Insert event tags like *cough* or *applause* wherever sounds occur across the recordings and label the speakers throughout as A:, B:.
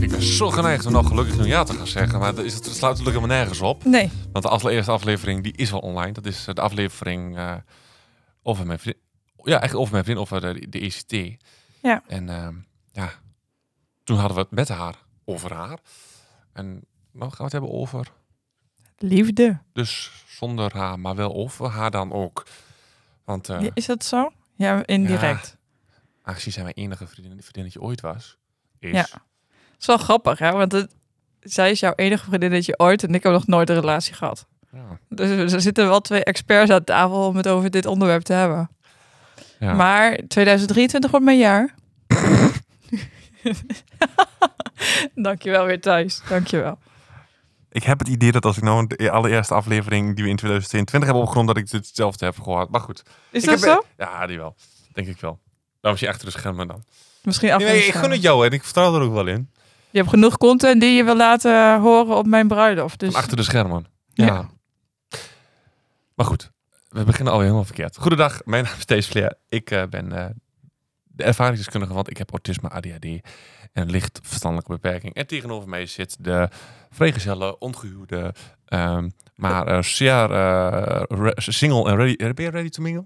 A: Ik ben zo geneigd om nog gelukkig nieuwjaar te gaan zeggen, maar dat, is, dat sluit natuurlijk helemaal nergens op.
B: Nee.
A: Want de allereerste aflevering die is al online. Dat is eh, de aflevering eh, over mijn vriend. Ja, echt over mijn vriend, over de, de ECT.
B: Ja.
A: En ehm, ja, toen hadden we het met haar over haar. En nou gaan we het hebben over,
B: Liefde.
A: dus zonder haar, maar wel over haar dan ook. Want eh,
B: Is dat zo? Ja, indirect.
A: aangezien zij mijn enige vriendin, vriendinnetje ooit was, is...
B: Ja. Het is wel grappig, hè? Want het, zij is jouw enige vriendinnetje ooit en ik heb nog nooit een relatie gehad.
A: Ja.
B: Dus er zitten wel twee experts aan tafel om het over dit onderwerp te hebben.
A: Ja.
B: Maar 2023 wordt mijn
A: *laughs*
B: jaar. Dankjewel weer Thijs. Dankjewel.
A: Ik heb het idee dat als ik nou de allereerste aflevering die we in 2022 hebben opgerond, dat ik hetzelfde heb gehoord. Maar goed.
B: Is
A: ik
B: dat
A: heb- eh,
B: zo?
A: Ja, die wel. Denk ik wel. Dan was je achter de schermen dan.
B: Misschien af.
A: Nee, nee, ik gun het jou en ik vertrouw er ook wel in.
B: Je hebt genoeg content die je wil laten horen op mijn bruiloft. Dus
A: Van
B: *laughs*
A: achter de schermen. Ja.
B: Ja.
A: Maar goed, we beginnen alweer helemaal verkeerd. Goedendag, mijn naam is Thees Vleer. Ik eh, ben eh, de ervaringsdeskundige, want ik heb autisme, ADHD en licht verstandelijke beperking. En tegenover mij zit de vrijgezelle, ongehuwde, ehm, maar eh, zeer eh, re- single en ready. eh, Ben je ready to mingle?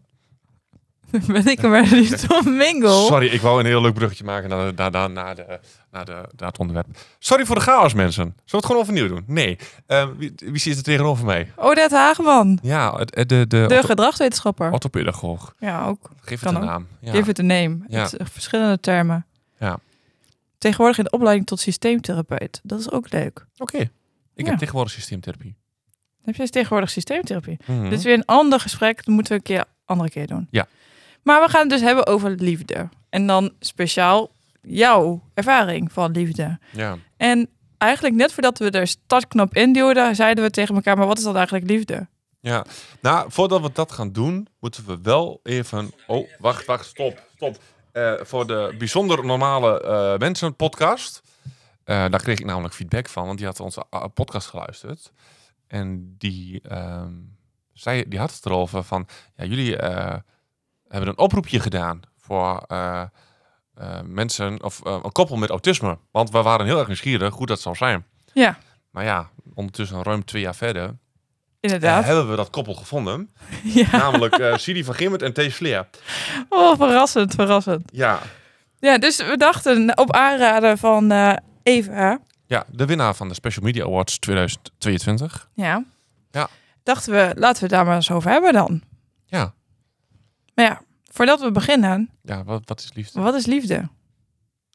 B: ben ik er maar niet
A: *laughs*
B: op mingle.
A: Sorry, ik wou een heel leuk bruggetje maken naar, de- naar, naar, naar, de, naar, de, naar het onderwerp. Sorry voor de chaos, mensen. Zullen we het gewoon overnieuw doen? Nee. Ehm, wie, wie zit er tegenover mij?
B: Odette Hageman,
A: Ja, het- het- de, de,
B: de gedragswetenschapper.
A: ortho- orthopedagoog.
B: Ja, ook.
A: Geef het
B: Kan
A: een
B: ook.
A: naam. Ja.
B: Give it a name.
A: Ja.
B: Het is verschillende termen.
A: Ja.
B: Tegenwoordig in de opleiding tot systeemtherapeut. Dat is ook leuk.
A: Oké. Ik
B: Ja.
A: heb tegenwoordig systeemtherapie.
B: Dan heb je dus tegenwoordig systeemtherapie.
A: Mhm.
B: Dit is weer een ander gesprek. Dat moeten we een keer andere keer doen.
A: Ja.
B: Maar we gaan het dus hebben over liefde. En dan speciaal jouw ervaring van liefde.
A: Ja.
B: En eigenlijk net voordat we de startknop induwden, zeiden we tegen elkaar, maar wat is dan eigenlijk liefde?
A: ja. Nou, voordat we dat gaan doen, moeten we wel even... Oh, wacht, wacht, stop, stop. Eh, voor de Bijzonder Normale eh, Mensen podcast... eh, daar kreeg ik namelijk feedback van, want die had onze eh, podcast geluisterd. En die, ehm, zei, die had het erover van... Ja, jullie eh, hebben een oproepje gedaan voor eh, eh, mensen... of eh, een koppel met autisme. Want we waren heel erg nieuwsgierig hoe dat zou zijn.
B: Ja.
A: Maar ja, ondertussen ruim twee jaar verder...
B: Inderdaad.
A: Eh, hebben we dat koppel gevonden.
B: *laughs* ja.
A: Namelijk eh *laughs* Siri van Gimmert en Thees Vleer.
B: Oh, verrassend, verrassend.
A: Ja.
B: Ja, dus we dachten op aanraden van eh, Eva,
A: ja, de winnaar van de Special Media Awards 2022.
B: Ja.
A: Ja.
B: Dachten we, laten we het daar maar eens over hebben dan.
A: Ja,
B: Maar ja, voordat we beginnen,
A: ja wat, wat is liefde?
B: wat is liefde?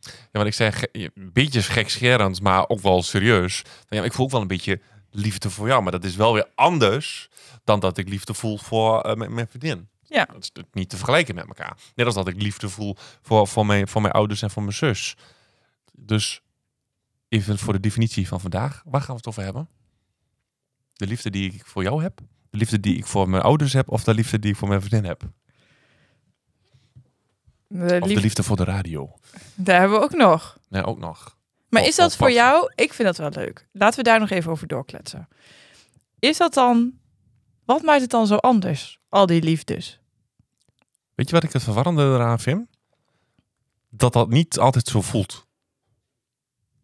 A: Ja, want ik zei ge- een beetje gekscherend, maar ook wel serieus. Van, Ja, maar ik voel ook wel een beetje liefde voor jou. Maar dat is wel weer anders dan dat ik liefde voel voor eh, mijn, mijn vriendin.
B: Ja.
A: Dat is natuurlijk niet te vergelijken met elkaar. Net als dat ik liefde voel voor, voor, mijn, voor mijn ouders en voor mijn zus. Dus even voor de definitie van vandaag. Waar gaan we het over hebben? De liefde die ik voor jou heb? De liefde die ik voor mijn ouders heb? Of de liefde die ik voor mijn vriendin heb?
B: De
A: Of de
B: liefde-
A: liefde voor de radio?
B: Daar hebben we ook nog.
A: Nee, ook nog.
B: Maar
A: Of-
B: is dat
A: of
B: voor
A: wat?
B: jou? Ik vind dat wel leuk. Laten we daar nog even over doorkletsen. Is dat dan. Wat maakt het dan zo anders? Al die liefdes.
A: Weet je wat ik het verwarrende eraan vind? Dat dat niet altijd zo voelt.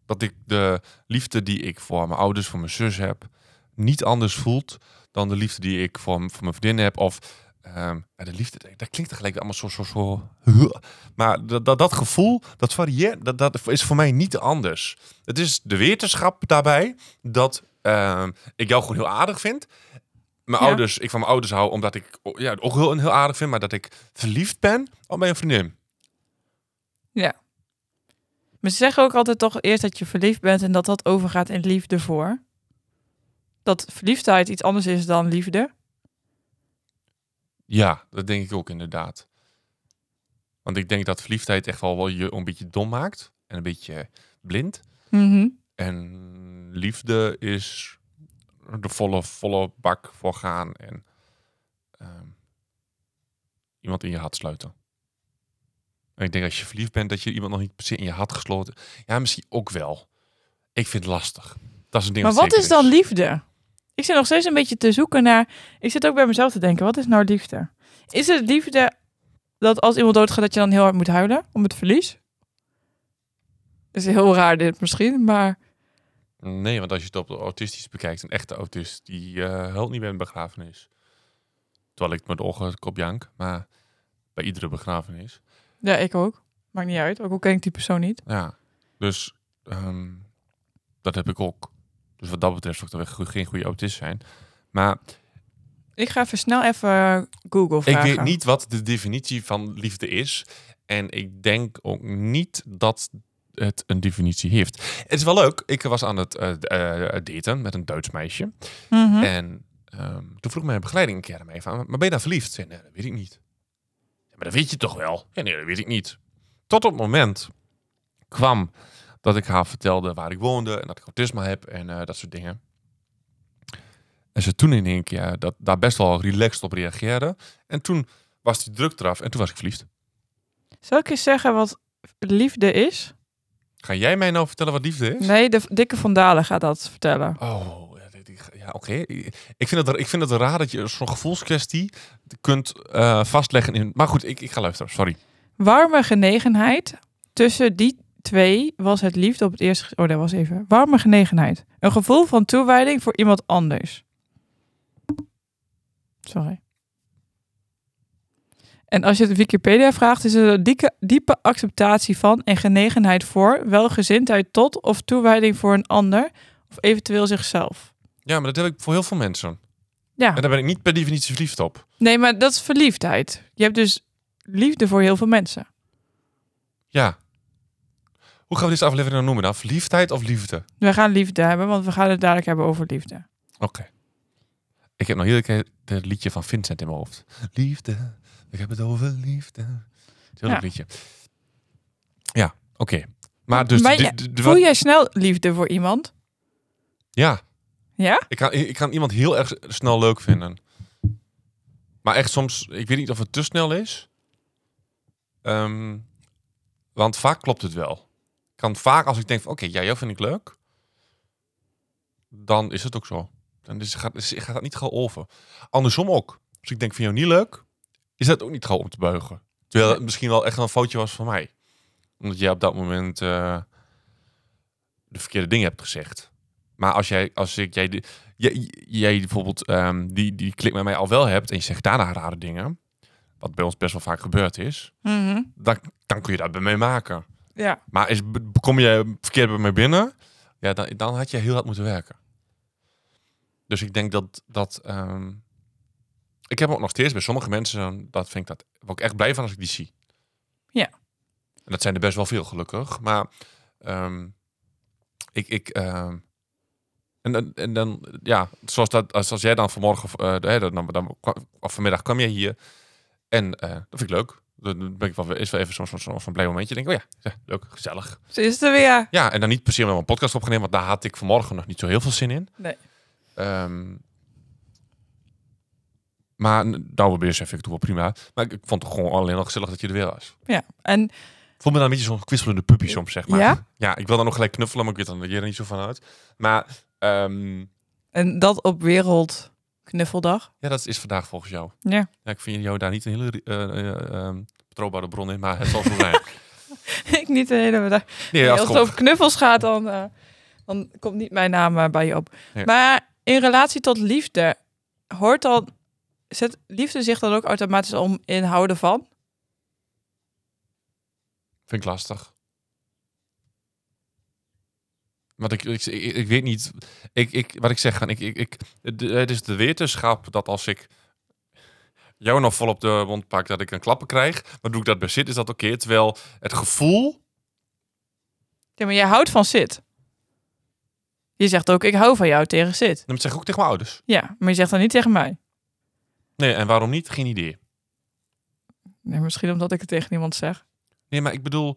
A: Dat ik de liefde die ik voor mijn ouders, voor mijn zus heb, niet anders voelt dan de liefde die ik voor, m- voor mijn vriendin heb. Of ehm, ja, de liefde, dat klinkt tegelijk allemaal zo, zo, zo. Maar dat, dat, dat gevoel, dat varieert, dat, dat is voor mij niet anders. Het is de wetenschap daarbij dat ehm, ik jou gewoon heel aardig vind mijn
B: Ja.
A: ouders, ik van mijn ouders hou, omdat ik o- ja, het ook heel, heel aardig vind, maar dat ik verliefd ben op mijn vriendin.
B: Maar ze zeggen ook altijd toch eerst dat je verliefd bent en dat dat overgaat in liefde voor. Dat verliefdheid iets anders is dan liefde.
A: Ja, dat denk ik ook inderdaad. Want ik denk dat verliefdheid echt wel, wel je een beetje dom maakt en een beetje blind.
B: Mhm.
A: En liefde is de volle, volle bak voor gaan en ehm, iemand in je hart sluiten. En ik denk als je verliefd bent, dat je iemand nog niet per se in je hart gesloten. Ja, misschien ook wel. Ik vind het lastig. Dat is een ding.
B: Maar wat
A: zeker
B: is dan liefde? Ik zit nog steeds een beetje te zoeken naar. Ik zit ook bij mezelf te denken: wat is nou liefde? Is het liefde dat als iemand doodgaat, dat je dan heel hard moet huilen om het verlies? Is heel raar dit misschien, maar
A: Nee, want als je het op de autistisch bekijkt, een echte autist die eh huilt niet bij een begrafenis. Terwijl ik met ogen het kop jank, maar bij iedere begrafenis.
B: ja, ik ook. Maakt niet uit. Ook al ken ik die persoon niet.
A: Ja, dus ehm, dat heb ik ook. Dus wat dat betreft zou ik dan weer geen goede autist zijn. Maar
B: Ik ga even snel even Google
A: ik
B: vragen.
A: weet niet wat de definitie van liefde is. En ik denk ook niet dat het een definitie heeft. Het is wel leuk. Ik was aan het eh, eh, daten met een Duits meisje.
B: Mhm.
A: En ehm, toen vroeg mijn begeleiding een keer aan mij van, maar ben je daar verliefd? Ik zei, nee, dat weet ik niet. Ja, maar dat weet je toch wel? Ja, nee, dat weet ik niet. Tot op het moment kwam dat ik haar vertelde waar ik woonde en dat ik autisme heb en eh, dat soort dingen. En ze toen in één keer dat, daar best wel relaxed op reageerde. En toen was die druk eraf en toen was ik verliefd.
B: Zal ik eens zeggen wat liefde is?
A: Ga jij mij nou vertellen wat liefde is?
B: Nee, de dikke Vandalen gaat dat vertellen.
A: Oh, ja, dit- ik- ja oké. Ik, vind het- ik vind het raar dat je zo'n gevoelskwestie kunt eh, vastleggen in... Maar goed, ik, ik ga luisteren, sorry.
B: Warme genegenheid tussen die twee was het liefde op het eerste. ge- Oh, dat was even. Warme genegenheid. Een gevoel van toewijding voor iemand anders. Sorry. En als je het Wikipedia vraagt, is het een dieke- diepe acceptatie van en genegenheid voor, welgezindheid tot of toewijding voor een ander, of eventueel zichzelf.
A: Ja, maar dat heb ik voor heel veel mensen.
B: Ja.
A: En daar ben ik niet per definitie verliefd op.
B: Nee, maar dat is verliefdheid. Je hebt dus liefde voor heel veel mensen.
A: Ja. Hoe gaan we deze aflevering nou noemen dan? Verliefdheid of liefde?
B: We gaan liefde hebben, want we gaan het dadelijk hebben over liefde.
A: Oké. Ik heb nog iedere keer het liedje van Vincent in mijn hoofd. Liefde, ik heb het over liefde. Het heel leuk
B: Ja.
A: liedje. Ja, oké. Maar dus...
B: Maar
A: dit-
B: je-
A: dit- dit-
B: Voel jij snel liefde voor iemand?
A: Ja.
B: Ja?
A: Ik kan, ik kan iemand heel erg snel leuk vinden. Maar echt soms, ik weet niet of het te snel is. Ehm, want vaak klopt het wel. Ik kan vaak, als ik denk van oké, ja, jou vind ik leuk. Dan is het ook zo. Dan is, gaat, is, gaat dat niet gauw over. Andersom ook. Als ik denk van jou niet leuk, is dat ook niet gauw om te buigen. Terwijl het misschien wel echt een foutje was van mij. Omdat jij op dat moment eh, de verkeerde dingen hebt gezegd. Maar als jij, als ik, jij, de- jij, jij bijvoorbeeld ehm, die, die klik met mij al wel hebt en je zegt daarna rare dingen, wat bij ons best wel vaak gebeurd is,
B: Mhm.
A: dan, dan kun je dat bij mij maken.
B: Ja.
A: Maar is, b- kom je verkeerd bij mij binnen, ja, dan, dan had je heel hard moeten werken. Dus ik denk dat dat. ehm, ik heb ook nog steeds bij sommige mensen, dat vind ik dat. Word ik echt blij van als ik die zie.
B: Ja.
A: En dat zijn er best wel veel gelukkig. Maar ehm, ik. ik ehm, en, dan, en dan, ja, zoals, dat, als, als jij dan vanmorgen, eh, hè, dan, dan, dan, of vanmiddag kwam jij hier. En eh, dat vind ik leuk. Dan ben ik wel, is wel even zo'n zo, zo, zo'n blij momentje. Denk ik, oh ja, ja, leuk, gezellig.
B: Ze is er weer.
A: Ja, en dan niet per se omdat we een podcast opgenomen, want daar had ik vanmorgen nog niet zo heel veel zin in.
B: Nee.
A: Ehm, maar Douwe Beers vind ik toch wel prima. Maar ik, ik vond het gewoon alleen al gezellig dat je er weer was.
B: Ja. En
A: Ik voel me dan een beetje zo'n kwistelende puppy soms, zeg maar.
B: Ja?
A: ik wil dan nog gelijk knuffelen, maar ik weet dan dat jij er niet zo van houdt. Maar ehm,
B: En dat op Wereld Knuffeldag.
A: ja, dat is vandaag volgens jou.
B: Ja. *laughs*
A: Ja, ik vind jou daar niet een hele eh, eh, ehm, betrouwbare bron in, maar het zal zo
B: *laughs*
A: zijn.
B: ik niet de hele dag.
A: Nee,
B: als
A: als het
B: het
A: gewoon-
B: over knuffels gaat, dan, eh, dan komt niet mijn naam eh, bij je op.
A: Nee.
B: Maar in relatie tot liefde, hoort dan, zet liefde zich dan ook automatisch om in houden van?
A: Vind ik lastig. Want ik, ik, ik, ik weet niet. Ik, ik, wat ik zeg, van, ik, ik, ik, het- het is de wetenschap dat als ik jou nog vol op de mond pak, dat ik een klappen krijg. Maar doe ik dat bij zit, is dat oké. Terwijl het gevoel.
B: Ja, maar jij houdt van Sid. Je zegt ook, ik hou van jou tegen Sid.
A: Dat zeg ik ook tegen mijn ouders.
B: Ja, maar je zegt dan niet tegen mij.
A: Nee, en waarom niet? Geen idee.
B: Nee, misschien omdat ik het tegen iemand zeg.
A: Nee, maar ik bedoel.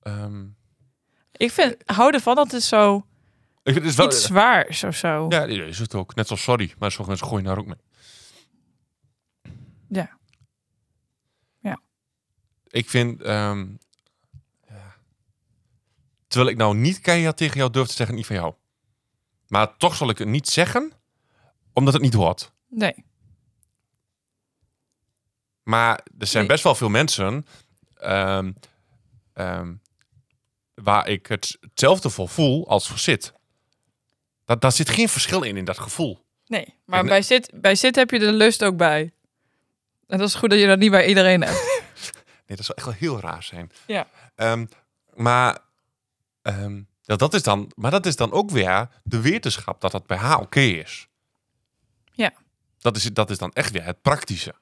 A: ehm,
B: Ik vind houden van dat is zo
A: ik, het is wel,
B: iets zwaars of zo.
A: Ja, dat is het ook. Net zoals sorry, maar sommige mensen gooien daar ook mee.
B: Ja.
A: Ik vind... ehm, ja. Terwijl ik nou niet keihard tegen jou durf te zeggen, niet van jou. Maar toch zal ik het niet zeggen, omdat het niet hoort.
B: Nee.
A: Maar er zijn
B: Nee.
A: best wel veel mensen ehm, ehm, waar ik het- hetzelfde voor voel als voor zit. Dat, daar zit geen verschil in, in dat gevoel.
B: Nee. Maar
A: En-
B: bij, zit, bij zit heb je de lust ook bij. En dat is goed dat je dat niet bij iedereen hebt.
A: Nee, dat zou echt wel heel raar zijn.
B: Ja.
A: Ehm, maar, ehm, dat, dat is dan, maar dat is dan ook weer de wetenschap dat dat bij haar oké is.
B: Ja.
A: Dat is, dat is dan echt weer het praktische.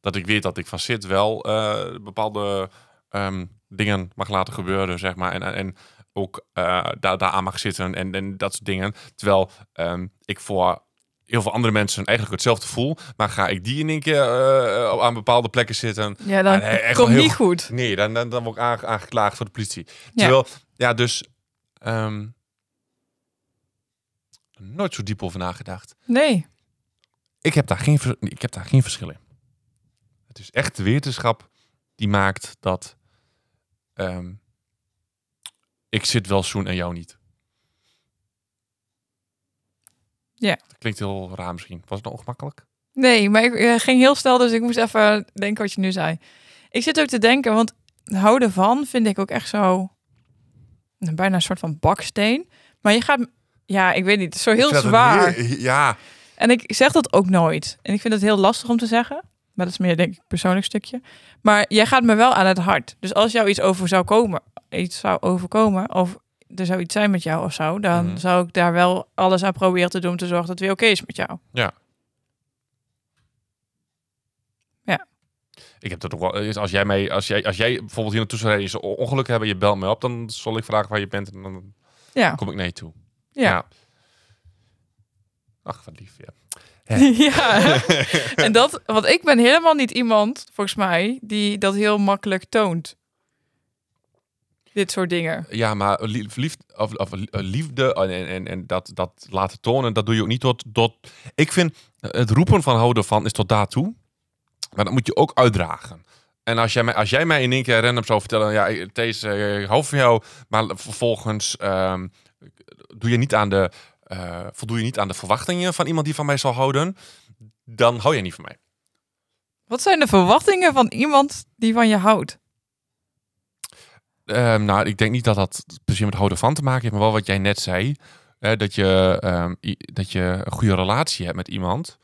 A: Dat ik weet dat ik van zit wel eh, bepaalde ehm, dingen mag laten gebeuren, zeg maar. En, en- en ook eh daar, daar aan mag zitten en, en dat soort dingen. Terwijl ehm, ik voor heel veel andere mensen eigenlijk hetzelfde voel. Maar ga ik die in één keer eh, aan bepaalde plekken zitten
B: Ja, dan
A: Ah, nee, echt wel
B: komt
A: heel
B: niet goed.
A: Nee, dan, dan, dan word ik aange- aangeklaagd voor de politie.
B: Ja.
A: Terwijl, ja, dus... ehm, nooit zo diep over nagedacht.
B: Nee.
A: Ik heb, daar geen, ver- ik heb daar geen verschil in. Het is echt de wetenschap die maakt dat... ehm, ik zit wel zoen en jou niet.
B: Ja.
A: Dat klinkt heel raar misschien. Was het nou ongemakkelijk?
B: Nee, maar ik eh, ging heel snel, dus ik moest even denken wat je nu zei. Ik zit ook te denken, want houden van vind ik ook echt zo... nou, Bijna een soort van baksteen. Maar je gaat... Ja, ik weet niet. het is Zo
A: Ik
B: heel
A: vind dat een
B: zwaar.
A: heel- ja.
B: En ik zeg dat ook nooit. En ik vind het heel lastig om te zeggen. Maar dat is meer, denk ik, een persoonlijk stukje. Maar jij gaat me wel aan het hart. Dus als jou iets over zou komen, iets zou overkomen, of er zou iets zijn met jou of zo, dan
A: Mhm.
B: zou ik daar wel alles aan proberen te doen om te zorgen dat het weer oké is met jou.
A: Ik heb dat ook wel. eens Als jij, mij, als jij, als jij bijvoorbeeld hier naartoe zou rijden, je zou ongeluk hebben, je belt me op, dan zal ik vragen waar je bent en dan
B: Ja.
A: kom ik naar je toe.
B: Ja.
A: Ach, wat lief. Ja.
B: *laughs*
A: *laughs*
B: ja. en dat, want ik ben helemaal niet iemand, volgens mij, die dat heel makkelijk toont. Dit soort dingen.
A: Ja, maar lief- liefde, of, of, eh, liefde en, en- en, en dat, dat laten tonen, dat doe je ook niet tot, tot... Ik vind, eh, het roepen van houden van is tot daartoe. Maar dat moet je ook uitdragen. En als jij mij, als jij mij in één keer random zou vertellen... Ja, eh, deze, eh, ik hou van jou. Maar vervolgens ehm, doe je niet aan de, eh, voldoe je niet aan de verwachtingen van iemand die van mij zal houden. Dan hou je niet van mij.
B: Wat zijn de verwachtingen van iemand die van je houdt?
A: Ehm, nou, ik denk niet dat dat precies met houden van te maken heeft, maar wel wat jij net zei. Hè, dat, je, ehm, i- dat je een goede relatie hebt met iemand.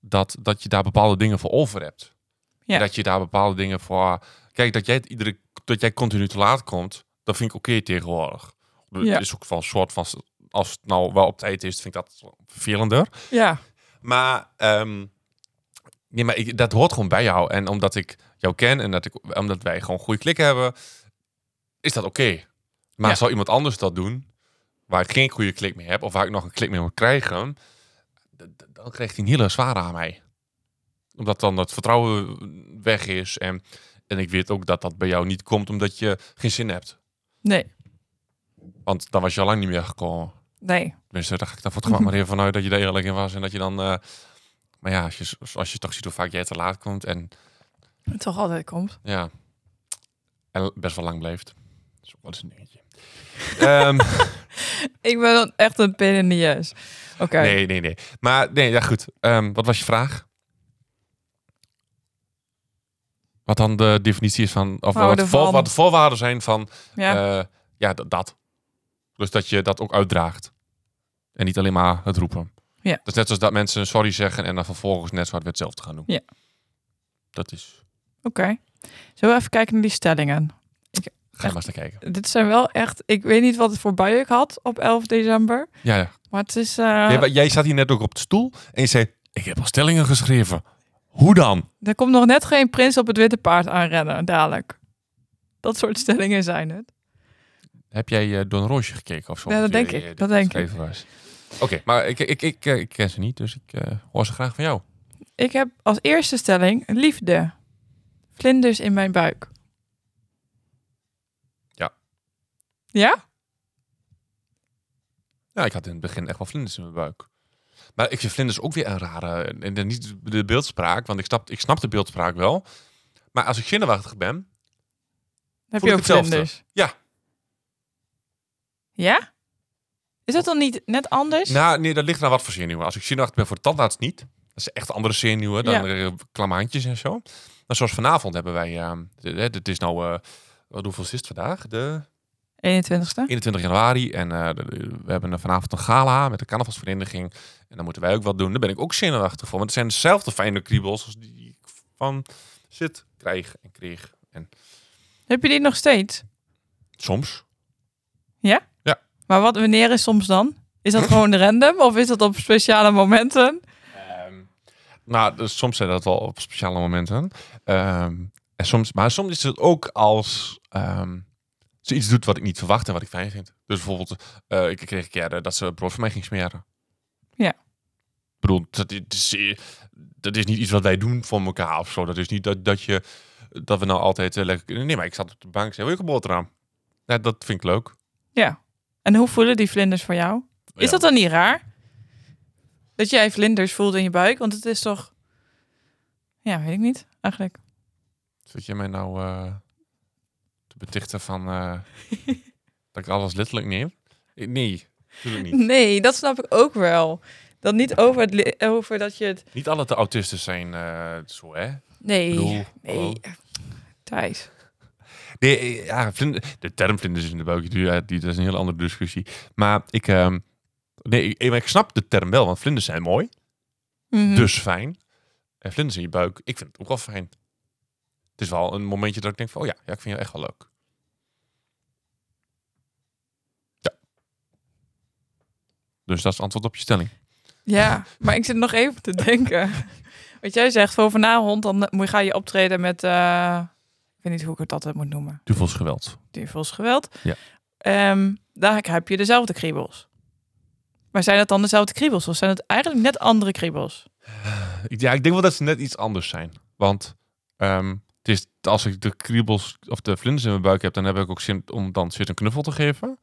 A: Dat, dat je daar bepaalde dingen voor over hebt.
B: Ja.
A: En Dat je daar bepaalde dingen voor. Kijk, dat jij, het iedere, dat jij continu te laat komt, dat vind ik oké tegenwoordig.
B: Ja.
A: Het is ook wel een soort van. Als het nou wel op tijd is, vind ik dat vervelender.
B: Ja.
A: Maar, ehm, nee, maar ik, dat hoort gewoon bij jou. En omdat ik jou ken en dat ik, omdat wij gewoon goede klik hebben, is dat oké. Maar
B: Ja.
A: zou iemand anders dat doen, waar ik geen goede klik mee heb, of waar ik nog een klik mee moet krijgen, d- d- dan krijgt hij een hele zware aan mij. Omdat dan dat vertrouwen weg is. En, en ik weet ook dat dat bij jou niet komt omdat je geen zin hebt.
B: Nee.
A: Want dan was je al lang niet meer gekomen.
B: Nee.
A: Tenminste, daar ga ik dan voor het gemak maar even vanuit dat je er eerlijk in was. En dat je dan... eh, maar ja, als je, als je toch ziet hoe vaak jij te laat komt en
B: Toch altijd komt.
A: ja, en best wel lang blijft. Dus wat is een dingetje. *laughs* Ehm,
B: Ik ben dan echt een pin in de jas. Oké.
A: nee, nee, nee. Maar nee, ja goed. Ehm, wat was je vraag? Wat dan de definitie is van... Of wat,
B: Houden
A: de voor,
B: van.
A: wat de voorwaarden zijn van...
B: Ja.
A: Ja, Eh, ja dat, dat. Dus dat je dat ook uitdraagt. En niet alleen maar het roepen.
B: Ja.
A: Dat is net zoals dat mensen sorry zeggen en dan vervolgens net zo hard weer hetzelfde gaan doen.
B: Ja.
A: Dat is...
B: Oké. Zullen we even kijken naar die stellingen?
A: Ga maar eens naar kijken.
B: Dit zijn wel echt... Ik weet niet wat het voor bui ik had op 11 december.
A: Ja, ja.
B: Maar het is...
A: Jij,
B: eh
A: wa- jij zat hier net ook op de stoel en je zei... Ik heb al stellingen geschreven. Hoe dan?
B: Er komt nog net geen prins op het witte paard aanrennen, dadelijk. Dat soort stellingen zijn het.
A: Heb jij eh, Don Roosje gekeken of zo?
B: Ja, dat
A: Toen
B: denk
A: je,
B: ik,
A: eh, dit
B: dat denk ik.
A: geschreven was. Oké, maar ik, ik, ik, eh, ik ken ze niet, dus ik eh, hoor ze graag van jou.
B: Ik heb als eerste stelling liefde. Vlinders in mijn buik.
A: Ja.
B: Ja?
A: Ja, ik had in het begin echt wel vlinders in mijn buik. Maar ik vind vlinders ook weer een rare... En en niet de beeldspraak, want ik snap, ik snap de beeldspraak wel. Maar als ik kinderwachtig ben, Voel
B: heb je
A: ik
B: ook
A: hetzelfde.
B: vlinders.
A: Ja.
B: Ja? Is dat dan niet net anders?
A: nou nee, dat ligt naar wat voor zenuwen. Als ik zenuwachtig ben voor de tandarts niet. Dat is echt andere zenuwen dan
B: Ja.
A: eh, klamaantjes en zo. Maar zoals vanavond hebben wij, ehm, de- hè, het is nou, eh, wat hoeveel is het vandaag? De
B: 21ste?
A: 21 januari. En eh, de- de- we hebben vanavond een gala met de carnavalsvereniging. En dan moeten wij ook wat doen. Daar ben ik ook zenuwachtig voor. Want het zijn dezelfde fijne kriebels als die ik van zit, krijg en kreeg. En
B: Heb je die nog steeds?
A: soms.
B: Maar wat, wanneer is soms dan? Is dat gewoon random of is dat op speciale momenten?
A: Ehm, nou, dus soms zijn dat wel op speciale momenten. Ehm, en soms, maar soms is het ook als ehm, ze iets doet wat ik niet verwacht en wat ik fijn vind. Dus bijvoorbeeld, eh, ik kreeg een keer eh, dat ze brood voor mij ging smeren.
B: Ja.
A: Ik bedoel, dat i- dat is, eh, dat is niet iets wat wij doen voor elkaar of zo. Dat is niet dat, dat, je, dat we nou altijd eh, lekker... Nee, maar ik zat op de bank en zei, wil je een boterham? Ja, dat vind ik leuk.
B: En hoe voelen die vlinders voor jou? Is
A: Ja.
B: dat dan niet raar? Dat jij vlinders voelt in je buik? Want het is toch... Ja, weet ik niet, eigenlijk.
A: Zit je mij nou eh, te betichten van
B: *laughs*
A: eh, dat ik alles letterlijk neem? Ik- Nee, natuurlijk niet.
B: Nee, dat snap ik ook wel. Dan niet over, het li- over dat je het...
A: Niet alle de autisten zijn eh, zo, hè? Ik
B: Nee,
A: bedoel, Oh. hallo.
B: nee. Thijs.
A: Nee, eh, ja, vlinder- de term vlinders in de buik, die, ja, die, dat is een hele andere discussie. Maar ik, ehm, nee, ik, ik- maar ik snap de term wel, want vlinders zijn mooi,
B: Mhm.
A: dus fijn. En vlinders in je buik, ik vind het ook wel fijn. Het is wel een momentje dat ik denk van, oh ja, ja ik vind je echt wel leuk. Ja. Dus dat is het antwoord op je stelling.
B: Ja, maar ik zit nog even te *laughs* denken. Wat jij zegt, voor vanavond dan moet je- ga je optreden met... eh, ik weet niet hoe ik het altijd moet noemen.
A: Duvels geweld.
B: Duvels geweld.
A: Ja.
B: Ehm, daar heb je dezelfde kriebels. Maar zijn dat dan dezelfde kriebels? Of zijn het eigenlijk net andere kriebels?
A: Ja, ik denk wel dat ze net iets anders zijn. Want ehm, het is, als ik de kriebels of de vlinders in mijn buik heb, dan heb ik ook zin om dan zit een knuffel te geven. En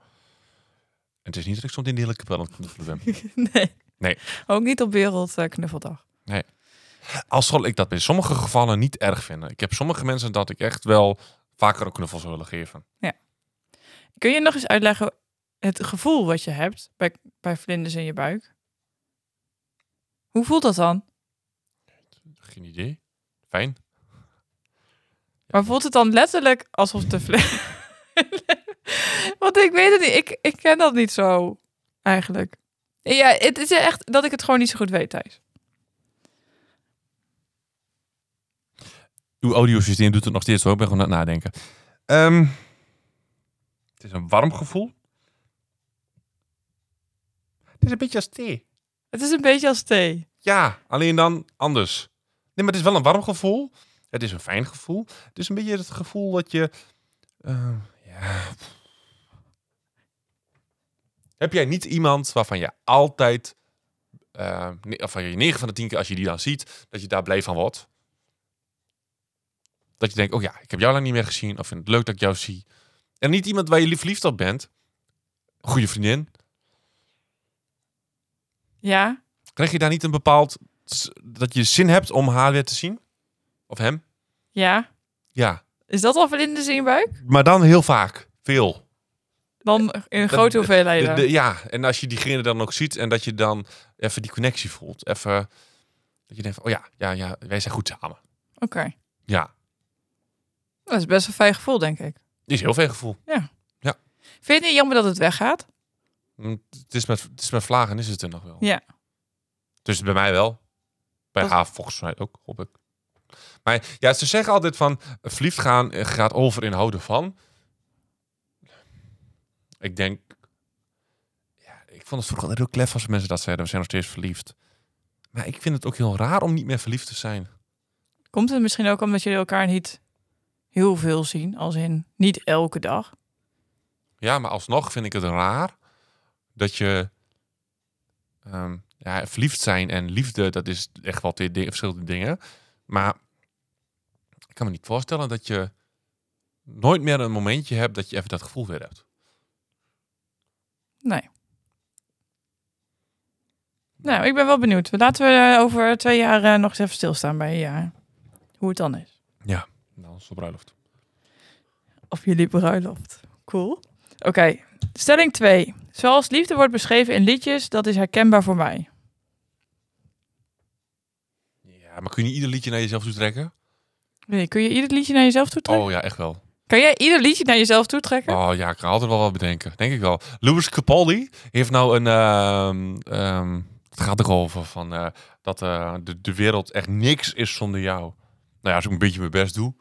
A: het is niet dat ik soms in de hele kapel aan het knuffelen ben.
B: *laughs* nee.
A: Nee.
B: Ook niet op eh, Wereldknuffeldag.
A: Al zal ik dat bij sommige gevallen niet erg vinden. Ik heb sommige mensen dat ik echt wel vaker een knuffel zou willen geven.
B: Kun je nog eens uitleggen het gevoel wat je hebt bij, bij vlinders in je buik? Hoe voelt dat dan?
A: Geen idee. Fijn.
B: Maar voelt het dan letterlijk alsof de vle- *laughs* Want ik weet het niet. Ik, ik ken dat niet zo, eigenlijk. Ja, het is echt dat ik het gewoon niet zo goed weet, Thijs.
A: Uw audiosysteem doet het nog steeds hoor. Ik ben gewoon aan het nadenken. Ehm, het is een warm gevoel. Het is een beetje als thee.
B: Het is een beetje als thee.
A: Ja, alleen dan anders. Nee, maar het is wel een warm gevoel. Het is een fijn gevoel. Het is een beetje het gevoel dat je... ehm, ja. Heb jij niet iemand waarvan je altijd... eh, ne- of van je 9 van de 10 keer als je die dan ziet, dat je daar blij van wordt? Dat je denkt, oh ja, ik heb jou lang niet meer gezien. Of vind het leuk dat ik jou zie. En niet iemand waar je lief verliefd op bent. Een goede vriendin.
B: Ja,
A: Krijg je daar niet een bepaald... s- dat je zin hebt om haar weer te zien? Of hem?
B: ja.
A: Ja.
B: Is dat al vlinders in je buik?
A: Maar dan heel vaak. Veel.
B: Dan in grote
A: de- Eh, De-
B: hoeveelheden.
A: de- ja, en als je diegene dan ook ziet en dat je dan even die connectie voelt. Even dat je denkt van, oh ja, ja, ja, wij zijn goed samen.
B: Oké.
A: Ja,
B: Dat is best een fijn gevoel, denk ik.
A: is heel veel gevoel.
B: Vind je het niet jammer dat het weggaat?
A: Mm, Het is met, het is met vlagen is het er nog wel.
B: Ja.
A: Dus bij mij wel. Bij
B: Dat-
A: haar volgens mij ook, hoop ik. Maar ja, ze zeggen altijd van, eh, verliefd gaan eh, gaat over in houden van. Ik denk, ja, ik vond het vroeger altijd heel klef als mensen dat zeiden, we zijn nog steeds verliefd. Maar ik vind het ook heel raar om niet meer verliefd te zijn.
B: Komt het misschien ook omdat jullie elkaar niet heel veel zien? Als in niet elke dag?
A: Ja, maar alsnog vind ik het raar dat je ehm, ja, verliefd zijn en liefde, dat is echt wel twee di- verschillende dingen. Maar ik kan me niet voorstellen dat je nooit meer een momentje hebt dat je even dat gevoel weer hebt.
B: Nee. Nou, ik ben wel benieuwd. Laten we eh, over twee jaar eh, nog eens even stilstaan bij eh, hoe het dan is.
A: Ja. Nou, onze bruiloft.
B: Of jullie bruiloft. Cool. Oké, stelling 2. Zoals liefde wordt beschreven in liedjes, dat is herkenbaar voor mij.
A: Ja, maar kun je niet ieder liedje naar jezelf toe trekken?
B: Nee, kun je ieder liedje naar jezelf toetrekken?
A: Oh ja, echt wel.
B: Kan jij ieder liedje naar jezelf toetrekken?
A: Oh ja, ik kan altijd wel wat bedenken. Denk ik wel. Louis Capaldi heeft nou een... ehm, ehm, het gaat erover van, eh, dat eh, de, de wereld echt niks is zonder jou. Nou ja, als ik een beetje mijn best doe.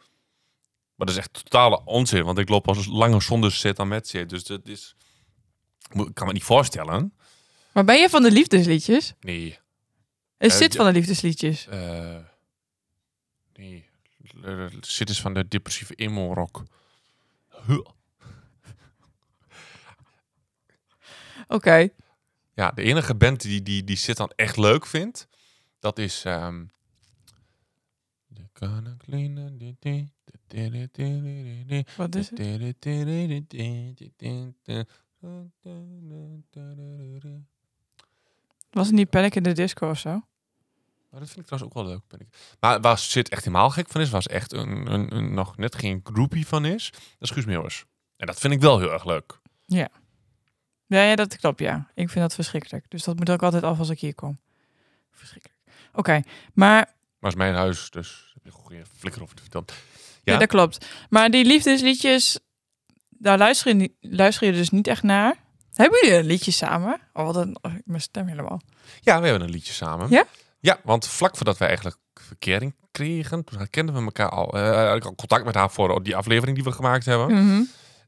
A: Maar dat is echt totale onzin. Want ik loop al langer zonder zit dan met zit. Dus dat is... Mo- Ik kan me niet voorstellen.
B: Maar ben je van de liefdesliedjes?
A: Nee.
B: Is
A: Eh,
B: zit
A: ja.
B: van de liefdesliedjes?
A: eh, nee. Eh, Zit is van de depressieve emo-rock. Huh.
B: Oké.
A: Ja, de enige band die, die, die zit dan echt leuk vindt, dat is... ehm, De Kana Kleine, di- di- di- di- di- di- di- di-
B: Wat is het?
A: di- di- di- di- di- di- di- di- di- di-
B: Was het niet Panic in the Disco of zo?
A: Maar Oh, dat vind ik trouwens ook wel leuk. Ben ik. Maar waar zit echt helemaal gek van is, waar ze echt een, een, een- nog net geen groupie van is, dat is Guus Meeuwers. En dat vind ik wel heel erg leuk.
B: Ja, ja, dat klopt, ja. Ik vind dat verschrikkelijk. Dus dat moet ook altijd af als ik hier kom. Verschrikkelijk. Oké, maar
A: Maar het is mijn huis, dus heb je een goede flikker over te vertellen.
B: Ja,
A: Ja.
B: dat klopt. Maar die liefdesliedjes, daar luister je, niet- luister je dus niet echt naar. Hebben jullie een liedje samen? Oh, wat een, oh, mijn stem helemaal.
A: Ja, we hebben een liedje samen.
B: Ja?
A: Ja, want vlak voordat wij eigenlijk verkering kregen, toen kenden we elkaar al. Eh, ik had contact met haar voor die aflevering die we gemaakt hebben.
B: Hm. Mhm.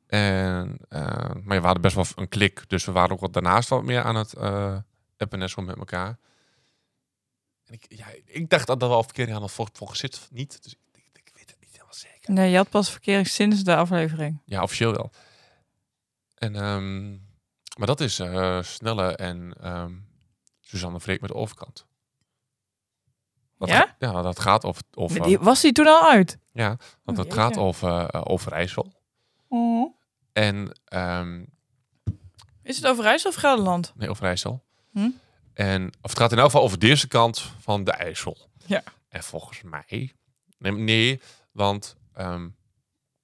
A: En, eh, maar ja, we hadden best wel een klik, dus we waren ook wat daarnaast wat meer aan het eh appen en zo met elkaar. En ik, ja, ik dacht dat we al verkering hadden, volgens, volgens zit niet. Dus ik, ik, ik weet het niet helemaal zeker.
B: Nee, je had pas verkering sinds de aflevering.
A: Ja, officieel wel. En, ehm, maar dat is eh, Snelle en ehm Suzanne Vreek met de overkant. Dat
B: Ja?
A: ga- ja, dat gaat over... over
B: Maar die- was die toen al uit?
A: ja, want
B: Oh,
A: dat gaat
B: jeetje.
A: over eh, Overijssel. En, ehm,
B: Is het Overijssel of Gelderland?
A: nee, Overijssel.
B: Hm?
A: En, of het gaat in elk geval over deze kant van de IJssel.
B: Ja.
A: En volgens mij... Nee, nee want ehm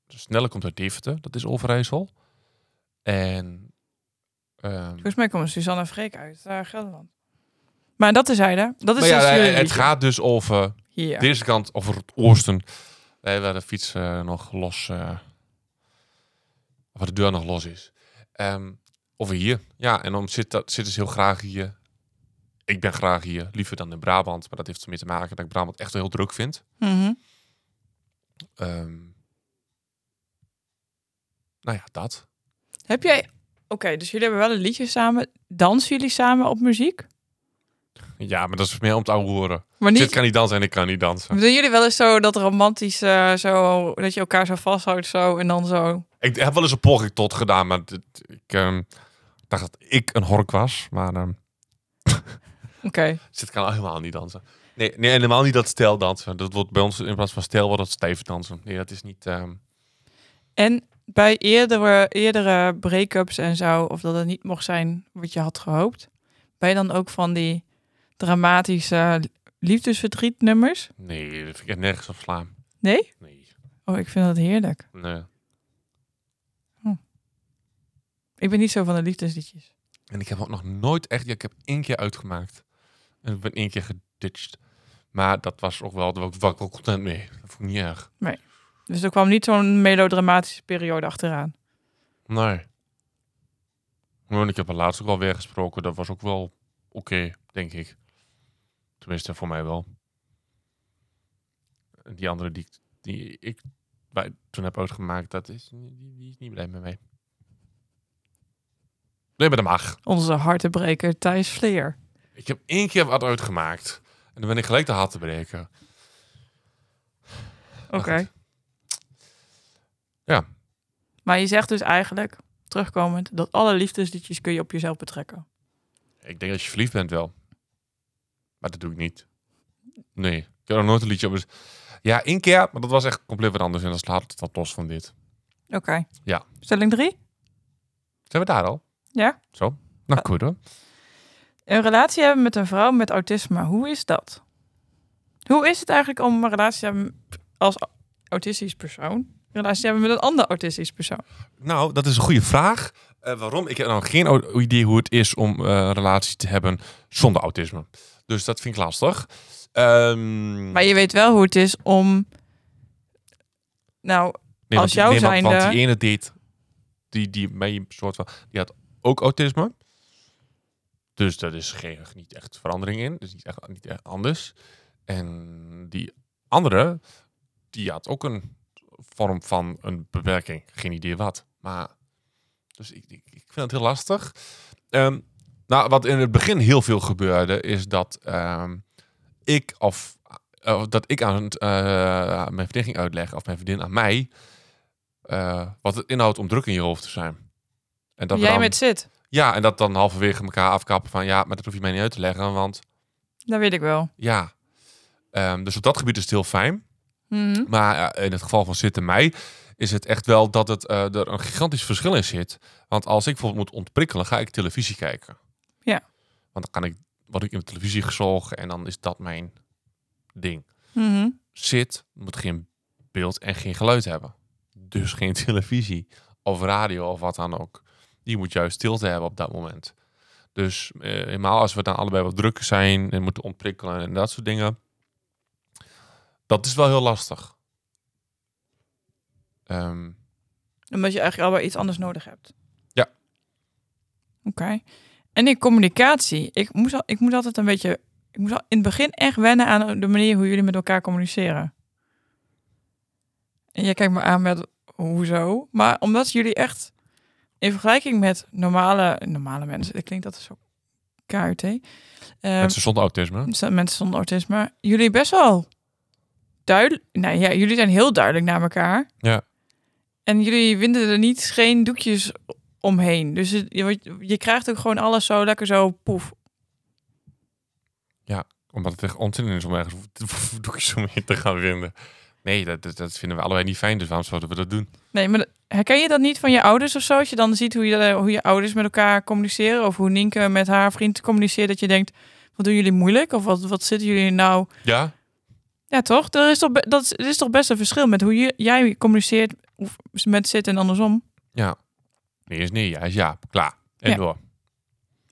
A: Snelle komt uit Deventer. Dat is Overijssel. En... ehm,
B: Volgens mij komen Suzanne en Freek uit eh, Gelderland. Maar dat is hij, hè? Dat is
A: Maar ja,
B: dus
A: eh,
B: jullie
A: het
B: liedje.
A: gaat dus over
B: Hier.
A: deze kant, over het oosten. Wij hebben de fiets eh, nog los. eh, waar de deur nog los is. Ehm, over hier. Ja, en dan zit, dat, zit dus heel graag hier. Ik ben graag hier, liever dan in Brabant. Maar dat heeft ermee te maken dat ik Brabant echt heel druk vind.
B: Mhm.
A: Ehm, nou ja, dat.
B: Heb jij... Oké, dus jullie hebben wel een liedje samen. Dansen jullie samen op muziek?
A: Ja, maar dat is meer om het ouwe horen.
B: Maar
A: Zit kan niet dansen en ik kan niet dansen.
B: Doen jullie wel eens zo dat romantisch, eh, zo, dat je elkaar zo vasthoudt zo en dan zo?
A: Ik heb wel eens een poging tot gedaan, maar dit- ik ehm, dacht dat ik een hork was. Maar ehm,
B: Oké.
A: Zit kan helemaal niet dansen. Nee, nee, en helemaal niet dat stijl dansen. Dat wordt bij ons in plaats van stijl wordt dat stijf dansen. Nee, dat is niet. ehm,
B: En bij eerdere, eerdere break-ups en zo, of dat het niet mocht zijn wat je had gehoopt, ben je dan ook van die dramatische liefdesverdrietnummers?
A: nee, dat vind ik echt nergens op slaan.
B: Nee?
A: Nee,
B: Oh, ik vind dat heerlijk.
A: nee.
B: Ik ben niet zo van de liefdesliedjes.
A: En ik heb ook nog nooit echt. Ja, ik heb één keer uitgemaakt. En ik ben één keer geditcht. Maar dat was ook wel. Daar was ik wel content mee. Dat vond ik niet erg.
B: Dus er kwam niet zo'n melodramatische periode achteraan.
A: Nee. En ik heb er laatst ook wel weer gesproken. Dat was ook wel oké, denk ik. Tenminste, voor mij wel. En Die andere die, ik- die ik bij, toen heb uitgemaakt, dat is, die, die is niet blij met mij. Nee, maar dat mag.
B: Onze hartenbreker Thijs Vleer.
A: Ik heb één keer wat uitgemaakt. En dan ben ik gelijk de hart te breken.
B: Oké.
A: goed. Ja.
B: Maar je zegt dus eigenlijk, terugkomend, dat alle liefdesliedjes kun je op jezelf betrekken.
A: Ik denk dat je verliefd bent wel. Maar dat doe ik niet. Nee, ik heb nog nooit een liedje op. Dus... Ja, één keer, maar dat was echt compleet wat anders. En dan slaat het wat los van dit.
B: Oké.
A: Ja.
B: Stelling drie.
A: Zijn we daar al?
B: Ja.
A: Zo, nou goed hoor.
B: Een relatie hebben met een vrouw met autisme, hoe is dat? Hoe is het eigenlijk om een relatie te hebben als autistisch persoon relatie hebben met een ander autistisch persoon?
A: Nou, dat is een goede vraag. Eh, waarom? Ik heb nou geen o- idee hoe het is om eh, een relatie te hebben zonder autisme. Dus dat vind ik lastig. Ehm,
B: Maar je weet wel hoe het is om... Nou,
A: Nee,
B: Als
A: want,
B: jou
A: nee, want-
B: zijnde-
A: want, die ene deed, die, die mij soort van, die had ook autisme. Dus daar is geen, niet echt verandering in. Dus niet echt, niet echt anders. En die andere, die had ook een vorm van een beperking. Geen idee wat. Maar, dus ik, ik, ik vind het heel lastig. Ehm, nou, wat in het begin heel veel gebeurde, is dat ehm, ik of eh, dat ik aan het, eh, aan mijn vriendin ging uitleggen, of mijn vriendin aan mij, eh, wat het inhoudt om druk in je hoofd te zijn. En dat we
B: jij
A: dan-
B: met zit.
A: Ja, en dat dan halverwege elkaar afkappen van ja, maar dat hoef je mij niet uit te leggen, want
B: Dat weet ik wel.
A: ja. Ehm, dus op dat gebied is het heel fijn.
B: Mhm.
A: Maar eh, in het geval van zitten mij is het echt wel dat het, eh, er een gigantisch verschil in zit. Want als ik bijvoorbeeld moet ontprikkelen, ga ik televisie kijken.
B: Ja.
A: Want dan kan ik, word ik in de televisie gezogen en dan is dat mijn ding.
B: Mhm.
A: Zit moet geen beeld en geen geluid hebben. Dus geen *laughs* televisie of radio of wat dan ook. Die moet juist stilte hebben op dat moment. Dus eh, helemaal als we dan allebei wat druk zijn en moeten ontprikkelen en dat soort dingen. Dat is wel heel lastig. Ehm,
B: Omdat je eigenlijk allemaal iets anders nodig hebt.
A: Ja.
B: Oké. En in communicatie, ik moest, al, ik moest altijd een beetje... Ik moest al in het begin echt wennen aan de manier hoe jullie met elkaar communiceren. En jij kijkt me aan met, hoezo? Maar omdat jullie echt, in vergelijking met normale, normale mensen... Ik klinkt dat zo KUT. ehm,
A: mensen zonder autisme.
B: dus dat mensen zonder autisme. Jullie best wel duidelijk. Nou ja, jullie zijn heel duidelijk naar elkaar.
A: Ja.
B: En jullie winden er niet geen doekjes omheen. Dus het- je, wordt- je krijgt ook gewoon alles zo lekker zo poef.
A: Omdat het echt onzin is om ergens *laughs* doekjes omheen te gaan vinden. Nee, dat, dat, dat vinden we allebei niet fijn. Dus waarom zouden we dat doen?
B: Nee, maar dat- herken je dat niet van je ouders of zo? Als je dan ziet hoe je, hoe je ouders met elkaar communiceren. Of hoe Nienke met haar vriend communiceert. Dat je denkt, wat doen jullie moeilijk? Of wat, wat zitten jullie nou...
A: Ja?
B: Ja, toch? Er is toch, be- dat is, er is toch best een verschil met hoe je, jij communiceert of met zit en andersom.
A: Nee is nee, ja is ja. Klaar. En
B: Ja.
A: door.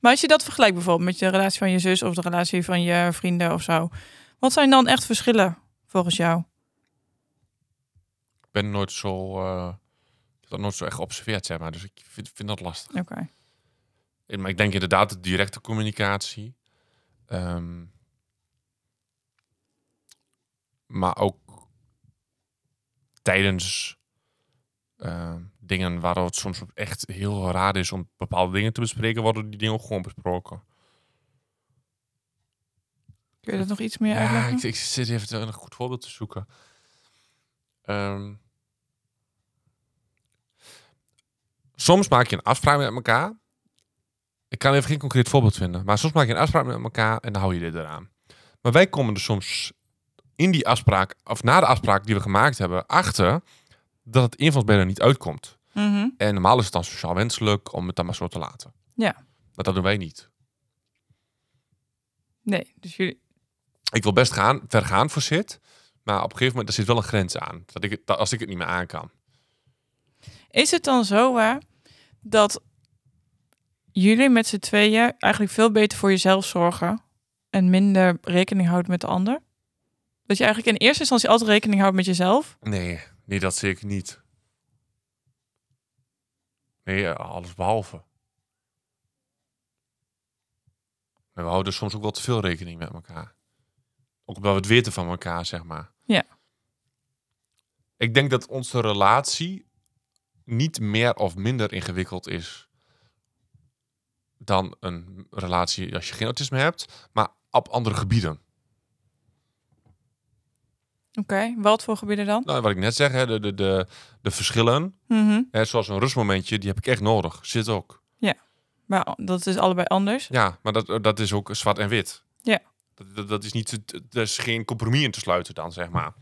B: Maar als je dat vergelijkt bijvoorbeeld met de relatie van je zus of de relatie van je vrienden of zo, wat zijn dan echt verschillen volgens jou?
A: Ik ben nooit zo... eh, ik heb dat nooit zo echt geobserveerd, zeg maar. Dus ik vind, vind dat lastig.
B: Oké.
A: Eh, Maar ik denk inderdaad de directe communicatie. Ehm, maar ook tijdens ehm, dingen waar het soms ook echt heel raar is om bepaalde dingen te bespreken, worden die dingen ook gewoon besproken.
B: Kun je dat nog iets meer
A: Ja,
B: uitleggen?
A: ik, ik zit even een goed voorbeeld te zoeken. Ehm, soms maak je een afspraak met elkaar. Ik kan even geen concreet voorbeeld vinden. Maar soms maak je een afspraak met elkaar en dan hou je dit eraan. Maar wij komen er soms in die afspraak, of na de afspraak die we gemaakt hebben, achter dat het een van ons beiden niet uitkomt.
B: Mhm.
A: En normaal is het dan sociaal wenselijk om het dan maar zo te laten.
B: Ja.
A: Maar dat doen wij niet.
B: Nee, dus jullie.
A: ik wil best gaan, ver gaan voor zit. Maar op een gegeven moment, er zit wel een grens aan. Dat ik, het- dat, als ik het niet meer aan kan.
B: Is het dan zo waar dat jullie met z'n tweeën eigenlijk veel beter voor jezelf zorgen en minder rekening houdt met de ander? Dat je eigenlijk in eerste instantie altijd rekening houdt met jezelf?
A: Nee, nee, dat zie ik niet. Nee, eh, alles behalve. Maar we houden soms ook wel te veel rekening met elkaar. Ook omdat we het weten van elkaar, zeg maar.
B: Ja.
A: Ik denk dat onze relatie niet meer of minder ingewikkeld is dan een relatie als je geen autisme hebt, maar op andere gebieden.
B: Oké, wat voor gebieden dan?
A: Nou, wat ik net zeg, hè, de, de, de, de verschillen.
B: Mhm.
A: Hè, zoals een rustmomentje, die heb ik echt nodig. Zit ook.
B: Maar dat is allebei anders.
A: Ja, maar dat, dat is ook zwart en wit.
B: Ja.
A: Dat, dat, dat is niet, te- daar is geen compromis in te sluiten dan, zeg maar.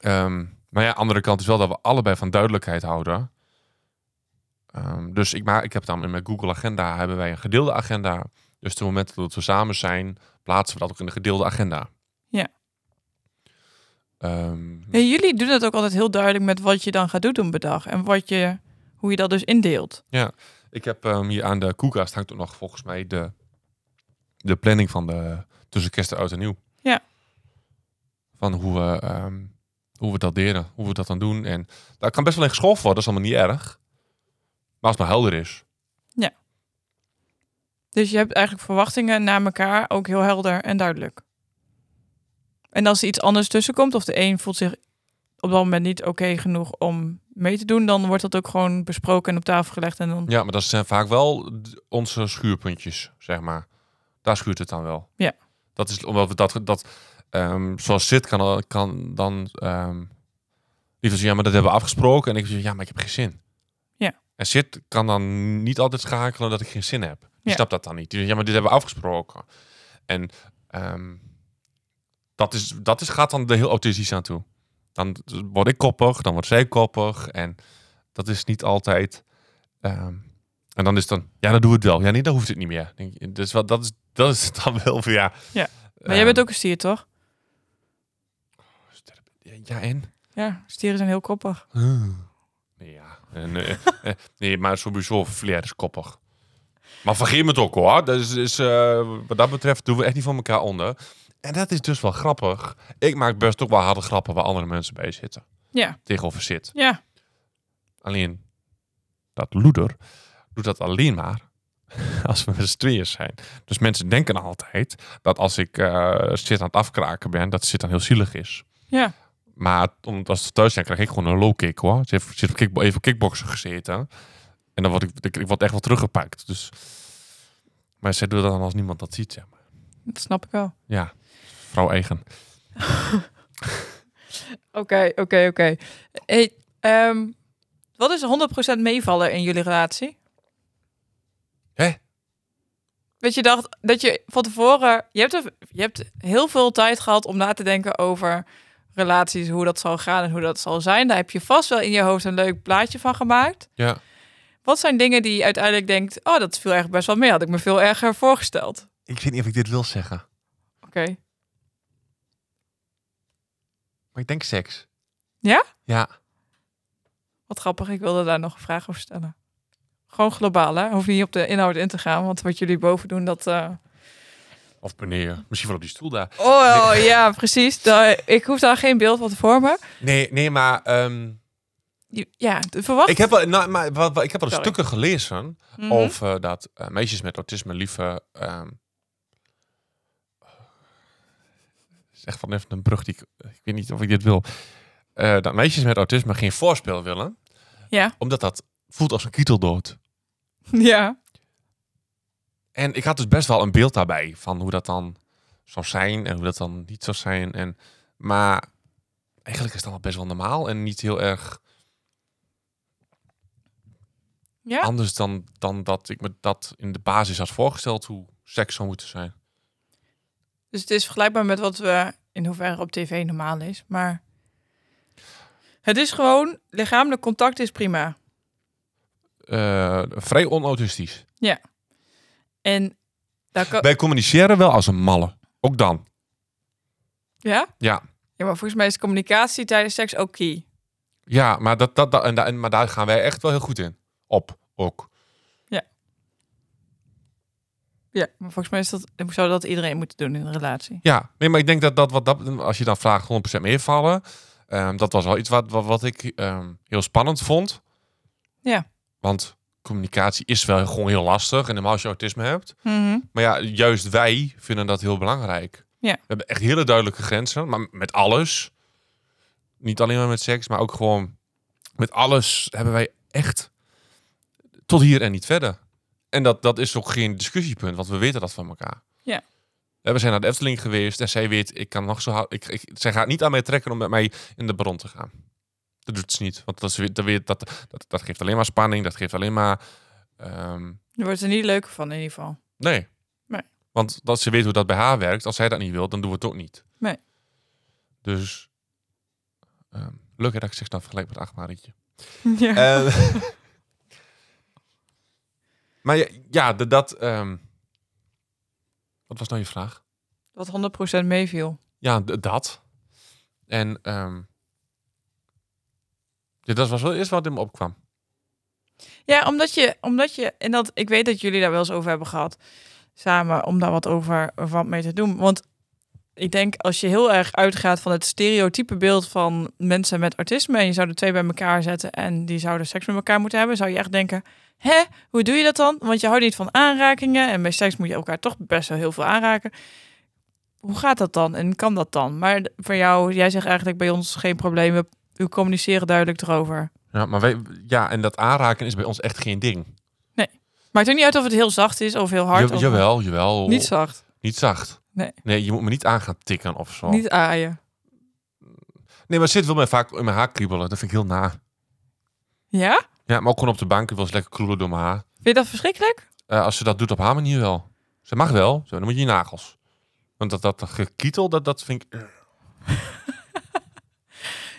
A: Ehm, maar ja, andere kant is wel dat we allebei van duidelijkheid houden. Ehm, dus ik, maar, ik heb dan in mijn Google Agenda hebben wij een gedeelde agenda. Dus de momenten dat we samen zijn, plaatsen we dat ook in de gedeelde agenda.
B: Ja.
A: Ehm,
B: Nee, jullie doen dat ook altijd heel duidelijk met wat je dan gaat doen op een dag. En wat je, hoe je dat dus indeelt.
A: Ik heb ehm, hier aan de koelkast hangt ook nog volgens mij de, de planning van de tussen kerst en oud en nieuw.
B: Ja.
A: Van hoe we, ehm, hoe we dat delen, hoe we dat dan doen. En daar kan best wel in geschoven worden, dat is allemaal niet erg. Maar als het maar helder is.
B: Dus je hebt eigenlijk verwachtingen naar elkaar ook heel helder en duidelijk. En als er iets anders tussenkomt, of de een voelt zich op dat moment niet oké genoeg om mee te doen, dan wordt dat ook gewoon besproken en op tafel gelegd. En dan,
A: Ja, maar dat zijn vaak wel d- onze schuurpuntjes, zeg maar. Daar schuurt het dan wel.
B: Ja.
A: Dat is omdat we dat, dat ehm, zoals zit kan, al- kan dan ehm liever zeggen, ja, maar dat hebben we afgesproken. En ik zeg, ja, maar ik heb geen zin.
B: Ja.
A: En zit kan dan niet altijd schakelen dat ik geen zin heb. Die
B: Ja.
A: snapt dat dan niet. Die zegt, ja, maar dit hebben we afgesproken. En ehm, dat, is, dat is, gaat dan de heel autistisch aan toe. Dan word ik koppig, dan wordt zij koppig. En dat is niet altijd Ehm, en dan is het dan, ja, dan doen we het wel. Ja, nee, dan hoeft het niet meer. Denk, je, dus wat, dat, is, dat is *laughs* het dan wel van, ja.
B: Ja, maar
A: Ehm,
B: jij bent ook een stier, toch?
A: Ja, en?
B: Ja, stieren zijn heel koppig.
A: Ah. Nee, *laughs* ja. En, eh, eh, nee, maar sowieso, Flair is koppig. Maar vergeet me het ook, hoor. Dat is, is, eh, wat dat betreft doen we echt niet van elkaar onder. En dat is dus wel grappig. Ik maak best ook wel harde grappen waar andere mensen bij zitten.
B: Ja,
A: Tegenover zit.
B: ja.
A: Alleen, dat loeder doet dat alleen maar *laughs* als we met z'n tweeën zijn. Dus mensen denken altijd dat als ik eh zit aan het afkraken ben, dat zit dan heel zielig is.
B: Ja.
A: Maar omdat als ze thuis zijn, krijg ik gewoon een low kick hoor. Ze heeft, ze heeft kickbo- even kickboksen gezeten. En dan word ik, ik, ik word echt wel teruggepakt. Dus... Maar zij doet dat dan als niemand dat ziet, zeg maar.
B: dat snap ik wel.
A: Ja, vrouw eigen.
B: Oké, oké, oké. Hey, ehm, wat is 100% meevallen in jullie relatie?
A: Hè?
B: Dat je dacht dat je van tevoren. Je hebt, er- je hebt heel veel tijd gehad om na te denken over relaties, hoe dat zal gaan en hoe dat zal zijn. Daar heb je vast wel in je hoofd een leuk plaatje van gemaakt.
A: Ja.
B: Wat zijn dingen die je uiteindelijk denkt: oh, dat viel echt best wel mee. Had ik me veel erger voorgesteld.
A: Ik weet niet of ik dit wil zeggen.
B: Oké.
A: Maar ik denk seks.
B: Ja?
A: Ja.
B: Wat grappig, ik wilde daar nog een vraag over stellen. Gewoon globaal, hè? Hoef niet op de inhoud in te gaan, want wat jullie boven doen, dat... eh,
A: Of meneer. Misschien wel op die stoel daar.
B: Oh, oh, ja, precies. Daar- ik hoef daar geen beeld van te vormen.
A: Nee, nee maar... ehm,
B: Je- Ja, de verwacht...
A: Ik heb wel, nou, maar, wat, wat- ik heb wel
B: Sorry.
A: stukken gelezen
B: Mhm.
A: over dat eh, meisjes met autisme liever... ehm, *laughs* is echt van even een brug die ik... Ik weet niet of ik dit wil. Eh, dat meisjes met autisme geen voorspel willen.
B: Ja.
A: Omdat dat voelt als een kieteldood.
B: *laughs* Ja,
A: En ik had dus best wel een beeld daarbij van hoe dat dan zou zijn en hoe dat dan niet zou zijn. En, maar eigenlijk is dat al best wel normaal en niet heel erg
B: Ja?
A: anders dan, dan dat ik me dat in de basis had voorgesteld hoe seks zou moeten zijn.
B: dus het is vergelijkbaar met wat we in hoeverre op tv normaal is, maar... Het is gewoon, lichamelijk contact is prima.
A: Eh, vrij onautistisch.
B: En daar kan...
A: Wij communiceren wel als een malle. Ook dan.
B: Ja?
A: Ja.
B: Ja, maar volgens mij is communicatie tijdens seks ook key.
A: Ja, maar, dat, dat, dat- en, da- en- maar daar gaan wij echt wel heel goed in. Op, ook.
B: Ja, maar volgens mij is dat, zou dat iedereen moeten doen in een relatie.
A: Ja, nee, maar ik denk dat, dat, wat dat als je dan vraagt 100% meevallen, ehm, dat was wel iets wat, wat, wat ik ehm, heel spannend vond.
B: Ja.
A: Want communicatie is wel gewoon heel lastig en normaal als je autisme hebt. Maar ja, juist wij vinden dat heel belangrijk.
B: Ja.
A: We hebben echt hele duidelijke grenzen, maar met alles. Niet alleen maar met seks, maar ook gewoon met alles hebben wij echt tot hier en niet verder. En dat, dat is ook geen discussiepunt, want we weten dat van elkaar.
B: Ja.
A: Ja, We zijn naar de Efteling geweest en zij weet, ik kan nog zo hard, ik, ik, zij gaat niet aan mij trekken om met mij in de bron te gaan. Dat doet ze niet, want dat, is weer- dat, weer- dat, dat, dat geeft alleen maar spanning, dat geeft alleen maar ehm,
B: Je wordt er niet leuker van in ieder geval.
A: Nee.
B: Nee.
A: Want dat ze weet hoe dat bij haar werkt. Als zij dat niet wil, dan doen we het ook niet.
B: Nee.
A: Dus. ehm, leuk hè, dat ik zich dan vergelijk met
B: *laughs*
A: Achmarietje.
B: Ja. Eh.
A: Ehm, *laughs* maar ja, ja, d- dat. ehm, wat was nou je vraag?
B: Wat 100% meeviel.
A: Ja, d- dat. En ehm, Ja, dat was wel eerst wat in me opkwam.
B: Ja, omdat je, omdat je, en dat ik weet dat jullie daar wel eens over hebben gehad, samen, om daar wat over wat mee te doen. Want ik denk als je heel erg uitgaat van het stereotype beeld van mensen met autisme en je zou de twee bij elkaar zetten en die zouden seks met elkaar moeten hebben, zou je echt denken: hè, hoe doe je dat dan? Want je houdt niet van aanrakingen en bij seks moet je elkaar toch best wel heel veel aanraken. Hoe gaat dat dan en kan dat dan? Maar voor jou, jij zegt eigenlijk bij ons geen problemen. We communiceren duidelijk erover.
A: Ja, maar wij, ja, en dat aanraken is bij ons echt geen ding.
B: Maakt het niet uit of het heel zacht is of heel hard.
A: Ja-
B: of
A: jawel, jawel.
B: Niet zacht.
A: Niet zacht.
B: Nee.
A: Nee, je moet me niet aan gaan tikken of zo.
B: Niet aaien.
A: Nee, maar zit wil mij vaak in mijn haar kriebelen. Dat vind ik heel na.
B: Ja?
A: Ja, maar ook gewoon op de bank. Ik wil eens lekker kroelen door mijn haar.
B: Vind je dat verschrikkelijk?
A: Eh, als ze dat doet op haar manier wel. Ze mag wel. Zo, dan moet je je nagels. Want dat, dat gekietel, dat, dat vind ik...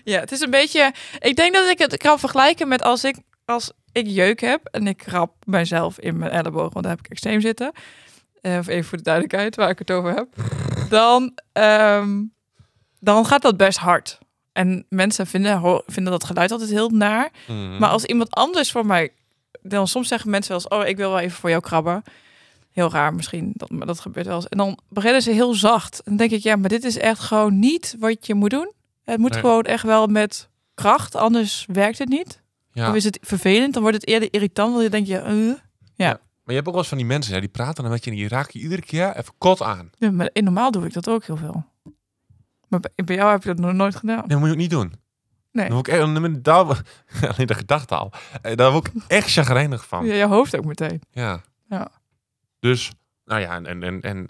B: Ja, het is een beetje... Ik denk dat ik het kan vergelijken met als ik, als ik jeuk heb... en ik krap mezelf in mijn elleboog, want daar heb ik extreem zitten. Eh, even voor de duidelijkheid waar ik het over heb. Dan, ehm, dan gaat dat best hard. En mensen vinden, ho- vinden dat geluid altijd heel naar.
A: Mm.
B: Maar als iemand anders voor mij... Dan soms zeggen mensen wel eens... Oh, ik wil wel even voor jou krabben. Heel raar misschien, dat, maar dat gebeurt wel eens. En dan beginnen ze heel zacht. En dan denk ik, ja, maar dit is echt gewoon niet wat je moet doen. Het moet
A: Nee.
B: gewoon echt wel met kracht. Anders werkt het niet.
A: ja.
B: Of is het vervelend. Dan wordt het eerder irritant. Want dan denk je, eh.
A: Maar je hebt ook wel eens van die mensen, hè, die praten dan met je en die raken je iedere keer even kot aan.
B: Ja, maar in normaal doe ik dat ook heel veel. Maar bij- bij jou heb je dat nog nooit gedaan.
A: Nee, dat moet je ook niet doen.
B: Nee.
A: Dan word ik echt, dan- daar, alleen de gedachte al. Eh, Daar word ik echt chagrijnig van.
B: Ja, je hoofd ook meteen.
A: Ja.
B: Ja.
A: Dus, nou ja, en, en, en, en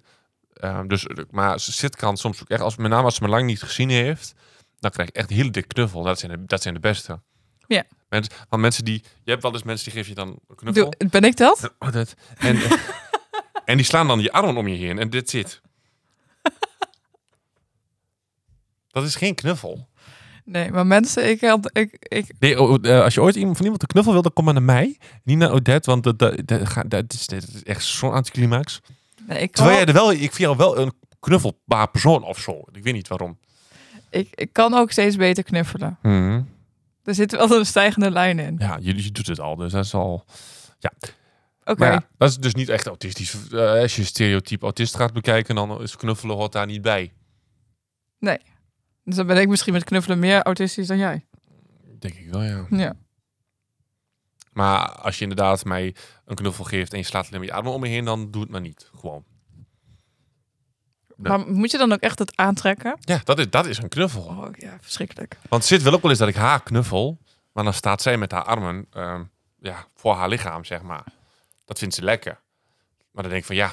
A: ehm, dus, maar ze zit kan soms ook echt, als, met name als ze me lang niet gezien heeft, dan krijg ik echt een hele dikke knuffel. Dat zijn de, dat zijn de beste.
B: Ja.
A: Mensen, want mensen die, je hebt wel eens mensen die geven je dan een knuffel.
B: Doe, ben ik dat?
A: Oh, dat. En, *laughs* en die slaan dan je armen om je heen en dit zit. *laughs* Dat is geen knuffel.
B: Nee, maar mensen, ik, had, ik, ik,
A: Nee, oh, eh, als je ooit iemand- van iemand een knuffel wil, dan kom maar naar mij. Niet naar Odette, want dat, dat, dat, ga- dat is, dat is echt zo'n anticlimax.
B: nee, ik kan
A: Terwijl jij er wel, ik vind jou wel een knuffelbaar persoon of zo. Ik weet niet waarom.
B: Ik, ik kan ook steeds beter knuffelen. Hmm. Er zit wel een stijgende lijn in.
A: Ja, je, je doet het al, dus dat is al...
B: Oké.
A: Maar ja, dat is dus niet echt autistisch. Eh, als je stereotype autist gaat bekijken, dan is knuffelen hoort daar niet bij.
B: Dus dan ben ik misschien met knuffelen meer autistisch dan jij.
A: Denk ik wel, ja.
B: Ja.
A: Maar als je inderdaad mij een knuffel geeft en je slaat alleen maar je armen om me heen, dan doe het maar niet. Gewoon. Nee.
B: Maar moet je dan ook echt het aantrekken?
A: Ja, dat is, dat is een knuffel.
B: Oh ja, verschrikkelijk.
A: Want zit wel ook wel eens dat ik haar knuffel, maar dan staat zij met haar armen ehm, ja, voor haar lichaam, zeg maar. Dat vindt ze lekker. Maar dan denk ik van ja,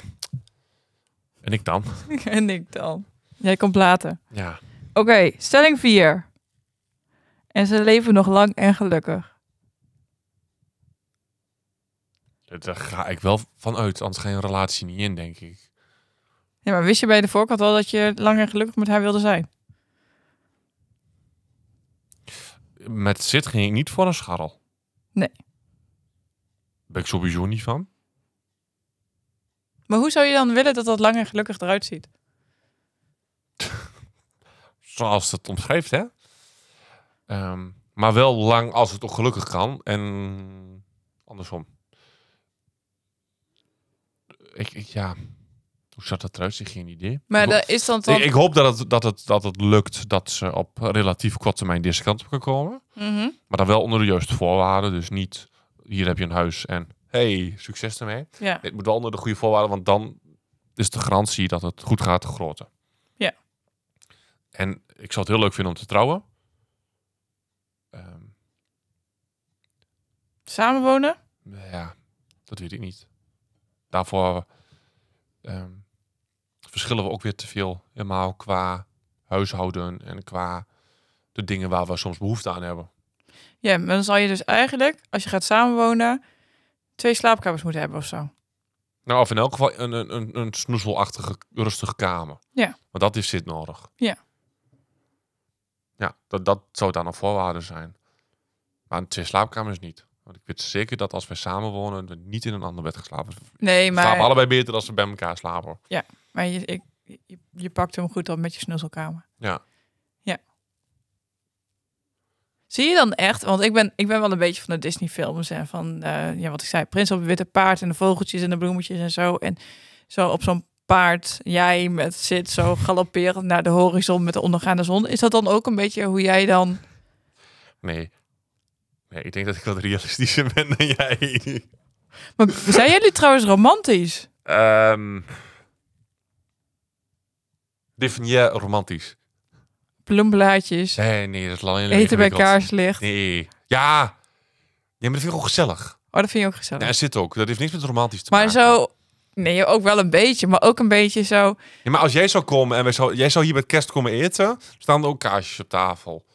A: en ik dan?
B: *laughs* en ik dan. Jij komt later.
A: Ja.
B: Oké, stelling 4. En ze leven nog lang en gelukkig.
A: Daar ga ik wel van uit, anders ga je een relatie niet in, denk ik.
B: Ja, maar wist je bij de voorkant al dat je lang en gelukkig met haar wilde zijn?
A: Met zit ging ik niet voor een scharrel.
B: Nee.
A: Ben ik sowieso niet van.
B: Maar hoe zou je dan willen dat dat lang en gelukkig eruit ziet?
A: Zoals het omschrijft, hè? Ehm, maar wel lang als het ook gelukkig kan. En andersom. Ik, ik- ja. Hoe zat dat eruit? Ik geen idee.
B: Maar
A: ik,
B: dat is dan
A: ho-
B: toch...
A: ik, ik hoop dat het, dat, het, dat het lukt dat ze op relatief korte termijn deze kant op kan komen.
B: Mhm.
A: Maar dan wel onder de juiste voorwaarden. Dus niet hier heb je een huis en hey, succes ermee.
B: Ja.
A: Het moet wel onder de goede voorwaarden, want dan is de garantie dat het goed gaat groter.
B: Ja.
A: En ik zou het heel leuk vinden om te trouwen. Ehm,
B: Samenwonen?
A: ja, dat weet ik niet. Daarvoor ehm, verschillen we ook weer te veel. Helemaal qua huishouden en qua de dingen waar we soms behoefte aan hebben.
B: Ja, maar dan zal je dus eigenlijk, als je gaat samenwonen, twee slaapkamers moeten hebben of zo.
A: Nou, of in elk geval een, een, een, een snoezelachtige, rustige kamer.
B: Ja.
A: Want dat is zit nodig.
B: Ja.
A: Ja, dat, dat zou dan een voorwaarde zijn. Maar een twee slaapkamers niet. Want ik weet zeker dat als wij samen wonen, we niet in een ander bed geslapen. We
B: Nee,
A: slapen
B: maar,
A: allebei beter als we bij elkaar slapen.
B: maar je, ik, je, je pakt hem goed op met je snuzzelkamer.
A: Ja.
B: Ja. Zie je dan echt, want ik ben, ik ben wel een beetje van de Disney-films en van, eh, ja, wat ik zei, Prins op het Witte Paard en de vogeltjes en de bloemetjes en zo. En zo op zo'n paard, jij met zit zo galopperend naar de horizon met de ondergaande zon. Is dat dan ook een beetje hoe jij dan.
A: Nee. Nee, ik denk dat ik wat realistischer ben dan jij.
B: Maar *laughs* zijn jullie trouwens romantisch?
A: Ehm definieer romantisch.
B: Bloemblaadjes,
A: Nee, nee, dat is lang
B: eten bij kaarslicht.
A: Nee. Ja. Ja, maar dat vind ik ook gezellig.
B: Oh, dat vind je ook gezellig.
A: Ja, zit ook. Dat heeft niks met romantisch te
B: maar
A: maken.
B: zo. Nee, ook wel een beetje, maar ook een beetje zo.
A: Ja, maar als jij zou komen en wij zou, jij zou hier met kerst komen eten, staan er ook kaarsjes op tafel.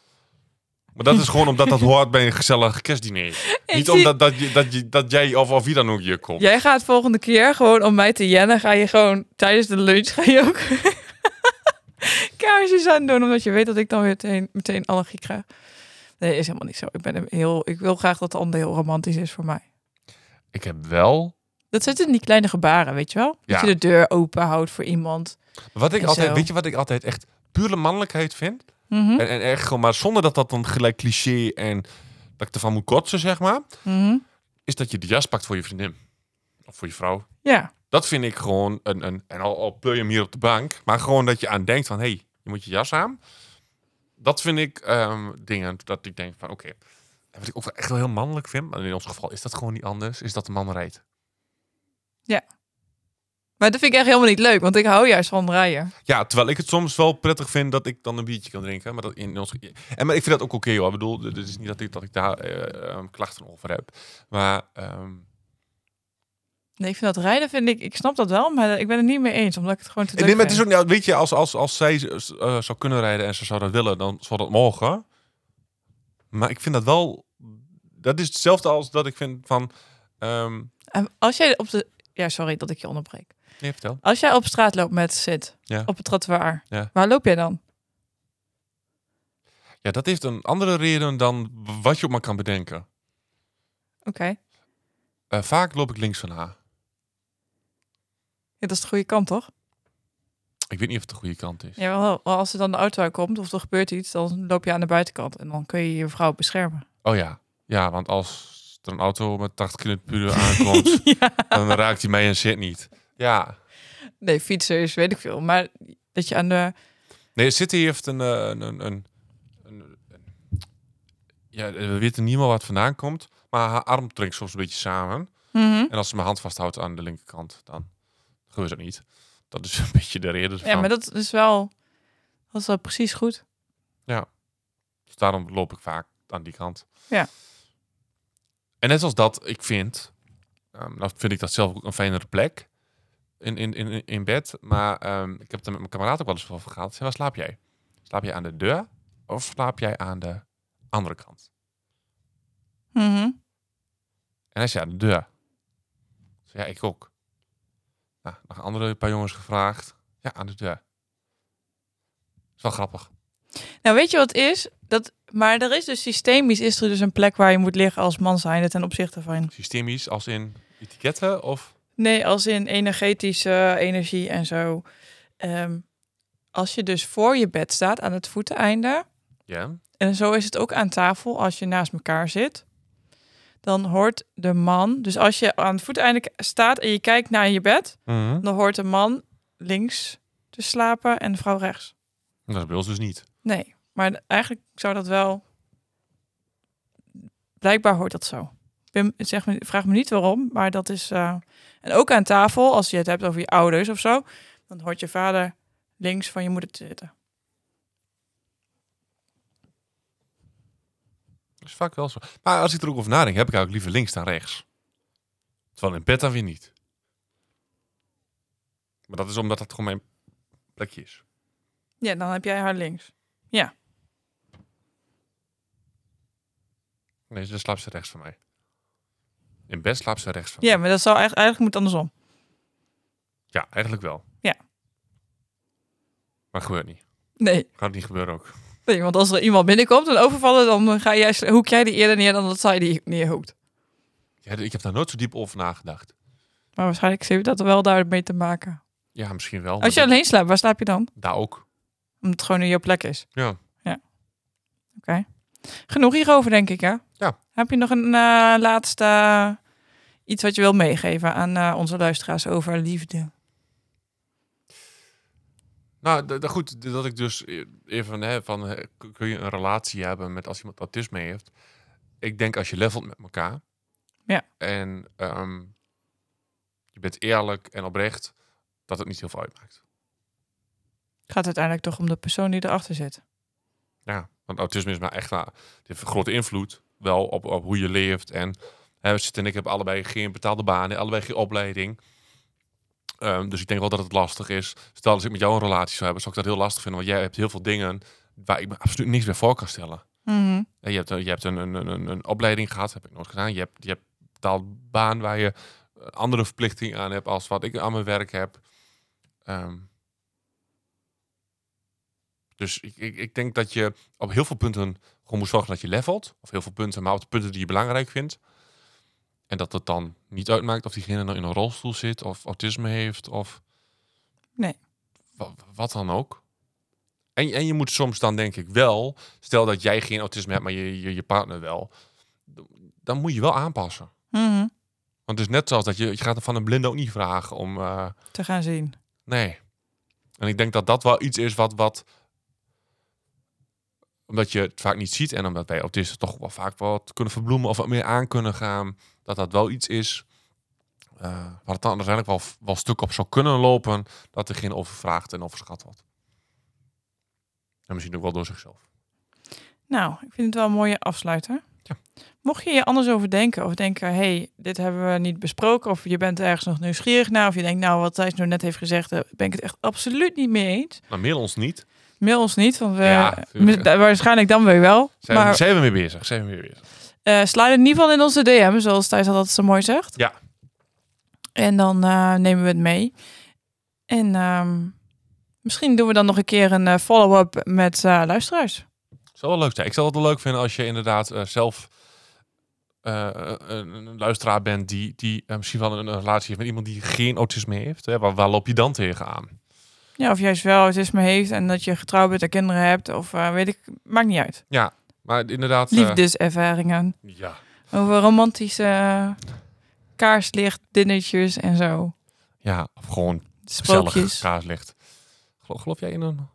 A: Maar dat is gewoon omdat
B: *laughs*
A: dat hoort bij een gezellig kerstdiner. Niet
B: zie-
A: omdat dat, je, dat, je, dat jij of, of wie dan ook hier komt.
B: Jij gaat volgende keer gewoon om mij te jennen. Ga je gewoon tijdens de lunch ga je ook *laughs* kaarsjes aan doen. Omdat je weet dat ik dan weer meteen, meteen allergie krijg. Nee, is helemaal niet zo. Ik, ben hem heel, ik wil graag dat de ander heel romantisch is voor mij.
A: Ik heb wel...
B: Dat zit in die kleine gebaren, weet je wel? Dat
A: Ja.
B: je de deur open houdt voor iemand.
A: Wat ik
B: En
A: altijd,
B: zo.
A: weet je wat ik altijd echt pure mannelijkheid vind?
B: Mhm,
A: En, en echt gewoon, maar zonder dat dat dan gelijk cliché en dat ik ervan moet kotsen, zeg maar,
B: mhm.
A: is dat je de jas pakt voor je vriendin. Of voor je vrouw.
B: Ja,
A: Dat vind ik gewoon een, een en al, al pleur je hem hier op de bank, maar gewoon dat je aan denkt van, hé, hey, je moet je jas aan. Dat vind ik ehm, dingen dat ik denk van, oké. En Wat ik ook wel echt wel heel mannelijk vind, maar in ons geval is dat gewoon niet anders, is dat de man rijdt.
B: maar dat vind ik echt helemaal niet leuk. Want ik hou juist van rijden.
A: Ja, terwijl ik het soms wel prettig vind dat ik dan een biertje kan drinken. Maar, dat in ons, en, maar ik vind dat ook oké hoor. Ik bedoel, het is niet dat ik, dat ik daar eh, ehm, klachten over heb. Maar ehm,
B: Nee, ik vind dat rijden, vind ik, ik snap dat wel, maar ik ben het niet mee eens. Omdat ik het gewoon te
A: Nee,
B: leuk
A: maar het is
B: vind.
A: ook, nou, weet je, als, als, als zij eh, zou kunnen rijden en ze zou dat willen, dan zou dat mogen. Maar ik vind dat wel, dat is hetzelfde als dat ik vind van, ehm
B: En Als jij op de... Ja, sorry dat ik je onderbreek.
A: nee, vertel.
B: Als jij op straat loopt met zit,
A: Ja.
B: op het trottoir,
A: Ja.
B: waar loop jij dan?
A: Ja, dat heeft een andere reden dan wat je op maar kan bedenken.
B: Oké,
A: Eh, vaak loop ik links van haar.
B: ja, dat is de goede kant, toch?
A: Ik weet niet of het de goede kant is.
B: Ja, wel, wel, als er dan de auto komt of er gebeurt iets, dan loop je aan de buitenkant en dan kun je je vrouw beschermen.
A: Oh ja, ja, want als er een auto met 80 km per uur aankomt,
B: *laughs* ja.
A: dan raakt hij mij en zit niet. Ja.
B: Nee, fietsers, weet ik veel. Maar dat je aan de...
A: Nee, City heeft een. eh, een, een, een, een- een- ja, eh, we weten niet meer wat vandaan komt. Maar haar arm drinkt soms een beetje samen.
B: Mhm.
A: En als ze mijn hand vasthoudt aan de linkerkant, dan gebeurt dat niet. Dat is *laughs* een beetje de reden.
B: Ja, maar dat is wel... Dat is wel precies goed.
A: Dus daarom loop ik vaak aan die kant.
B: Ja.
A: En net als dat, ik vind, ehm nou vind ik dat zelf ook een fijnere plek in, in, in, in bed. Maar ehm, ik heb het er met mijn kameraad ook wel eens over gehad. Zeg, waar slaap jij? Slaap jij aan de deur of slaap jij aan de andere kant?
B: Mhm.
A: En hij zei, ja, de deur. Ik zei, ja, ik ook. Nou, nog andere paar jongens gevraagd. Ja, aan de deur. Is wel grappig.
B: Nou, weet je wat het is? Dat, maar er is dus systemisch is er dus een plek waar je moet liggen als man zijnde ten opzichte van...
A: Systemisch, als in etiketten of...
B: Nee, als in energetische energie en zo. Ehm, als je dus voor je bed staat aan het voeteneinde,
A: Ja.
B: en zo is het ook aan tafel als je naast elkaar zit, dan hoort de man, dus als je aan het voeteneinde k- staat en je kijkt naar je bed, dan hoort de man links te slapen en de vrouw rechts.
A: Dat is bij ons dus niet.
B: Nee, maar eigenlijk zou dat wel, blijkbaar hoort dat zo. Ik ben- Zeg me, vraag me niet waarom, maar dat is. eh, En ook aan tafel, als je het hebt over je ouders of zo, dan hoort je vader links van je moeder te zitten.
A: Dat is vaak wel zo. Maar als ik er ook over nadenk, heb ik eigenlijk liever links dan rechts. Terwijl in bed dan weer niet. Maar dat is omdat dat gewoon mijn plekje is.
B: Ja, dan heb jij haar links.
A: Nee, dan slaapt ze rechts van mij. In bed slaapt ze rechts van mij.
B: Ja, maar dat zou eigenlijk, eigenlijk moet het andersom.
A: Ja, eigenlijk wel.
B: Ja.
A: Maar gebeurt niet.
B: Nee,
A: Gaat niet gebeuren ook.
B: nee, want als er iemand binnenkomt en overvallen, dan ga jij, sl- hoek jij die eerder neer dan dat zij die neerhoekt.
A: Ja, ik heb daar nooit zo diep over nagedacht.
B: Maar waarschijnlijk heeft dat er wel daarmee te maken.
A: Ja, misschien wel. maar
B: Als je
A: dat-
B: alleen slaapt, waar slaap je dan?
A: Daar ook.
B: Omdat het gewoon in jouw plek is.
A: Ja.
B: Oké. Genoeg hierover, denk ik, hè?
A: Ja.
B: Heb je nog een eh, laatste eh, iets wat je wilt meegeven aan eh, onze luisteraars over liefde?
A: Nou, d- d- goed, d- dat ik dus e- even hè, van, hè, k- kun je een relatie hebben met als iemand autisme heeft? Ik denk als je levelt met elkaar.
B: Ja.
A: En ehm, je bent eerlijk en oprecht, dat het niet heel veel uitmaakt.
B: Het gaat uiteindelijk toch om de persoon die erachter zit.
A: Ja, want autisme is maar echt, nou, het heeft een grote invloed wel op, op hoe je leeft. En hè, Sid en ik hebben allebei geen betaalde banen, allebei geen opleiding. Ehm, dus ik denk wel dat het lastig is. Stel als ik met jou een relatie zou hebben, zou ik dat heel lastig vinden. Want jij hebt heel veel dingen waar ik me absoluut niks meer voor kan stellen.
B: Mhm.
A: Ja, Je hebt, eh, je hebt een, een, een- een, een opleiding gehad, heb ik nooit gedaan. Je hebt, je hebt een betaalde baan waar je eh, andere verplichting aan hebt als wat ik aan mijn werk heb. Ehm, dus ik, ik, ik denk dat je op heel veel punten gewoon moet zorgen dat je levelt. Of heel veel punten, maar op de punten die je belangrijk vindt. En dat het dan niet uitmaakt of diegene nou in een rolstoel zit of autisme heeft of...
B: Nee.
A: Wa- wat dan ook. En, en je moet soms dan denk ik wel, stel dat jij geen autisme hebt, maar je, je, je partner wel, dan moet je wel aanpassen.
B: Mhm.
A: Want het is net zoals dat je, je gaat van een blinde ook niet vragen om, eh,
B: Te gaan zien.
A: nee. En ik denk dat dat wel iets is wat, wat, omdat je het vaak niet ziet en omdat wij autisten toch wel vaak wat kunnen verbloemen of wat meer aan kunnen gaan, dat dat wel iets is eh, waar het dan uiteindelijk wel, wel stuk op zou kunnen lopen, dat er geen overvraagd en overschat wordt. En misschien ook wel door zichzelf.
B: Nou, ik vind het wel een mooie afsluiter.
A: Ja.
B: Mocht je je anders over denken of denken, hé, hey, dit hebben we niet besproken of je bent ergens nog nieuwsgierig naar of je denkt, nou, wat Thijs nou net heeft gezegd, daar ben ik het echt absoluut niet mee eens.
A: Nou, mail ons niet.
B: Mail ons niet, want we,
A: Ja, tuurlijk.
B: mi- waarschijnlijk dan weer wel.
A: Zijn,
B: maar
A: we, zijn we mee bezig? Zijn we mee bezig?
B: eh sluit in ieder geval in onze DM, zoals Thijs altijd zo mooi zegt.
A: Ja.
B: En dan eh, nemen we het mee. En ehm, misschien doen we dan nog een keer een eh, follow-up met eh, luisteraars.
A: Zou wel leuk zijn. Ik zou het wel leuk vinden als je inderdaad eh, zelf eh, een, een luisteraar bent die, die eh, misschien wel een, een relatie heeft met iemand die geen autisme heeft. Hè? Waar, waar loop je dan tegenaan?
B: Ja, of juist wel autisme heeft en dat je getrouwd bent en kinderen hebt. Of eh, weet ik, maakt niet uit.
A: Maar inderdaad... eh,
B: Liefdeservaringen.
A: ja.
B: Over romantische eh, kaarslicht, dinnetjes en zo.
A: ja, of gewoon gezellig
B: Sprookjes.
A: kaarslicht. Geloof, geloof jij in een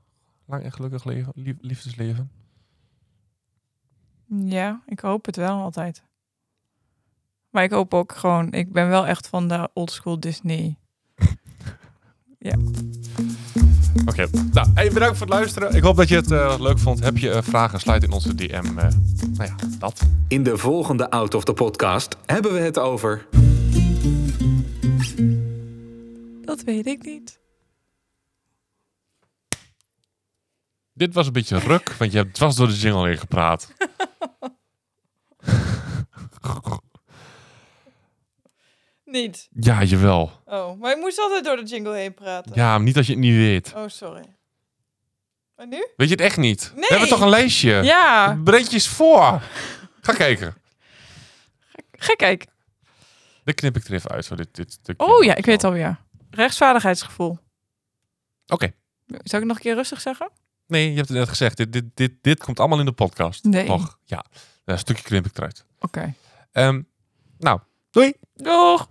A: lang en gelukkig leven, lief- liefdesleven?
B: Ja, ik hoop het wel altijd. Maar ik hoop ook gewoon, ik ben wel echt van de old school Disney.
A: Oké, nou, hey, bedankt voor het luisteren. Ik hoop dat je het eh, leuk vond. Heb je eh, vragen, sluit in onze DM. eh, nou ja, dat.
C: In de volgende Out of the Podcast hebben we het over...
B: Dat weet ik niet.
A: Dit was een beetje ruk, want je hebt dwars door de jingle heen gepraat.
B: Niet.
A: Ja, jawel.
B: Oh, maar ik moest altijd door de jingle heen praten.
A: Ja, maar niet als je het niet weet.
B: Oh, sorry. En nu?
A: Weet je het echt niet?
B: Nee.
A: We hebben toch een lijstje?
B: Ja,
A: Breed je eens voor. Ga kijken.
B: ga kijk.
A: Dan knip ik er even uit. Zo, dit, dit stukje.
B: Oh ja, ik weet het alweer. Rechtsvaardigheidsgevoel.
A: Oké.
B: Zou ik het nog een keer rustig zeggen?
A: Nee, je hebt het net gezegd. Dit, dit, dit, dit komt allemaal in de podcast.
B: Nee.
A: Toch? Ja. Een stukje knip ik eruit.
B: Oké.
A: Ehm, nou, doei.
B: Doeg!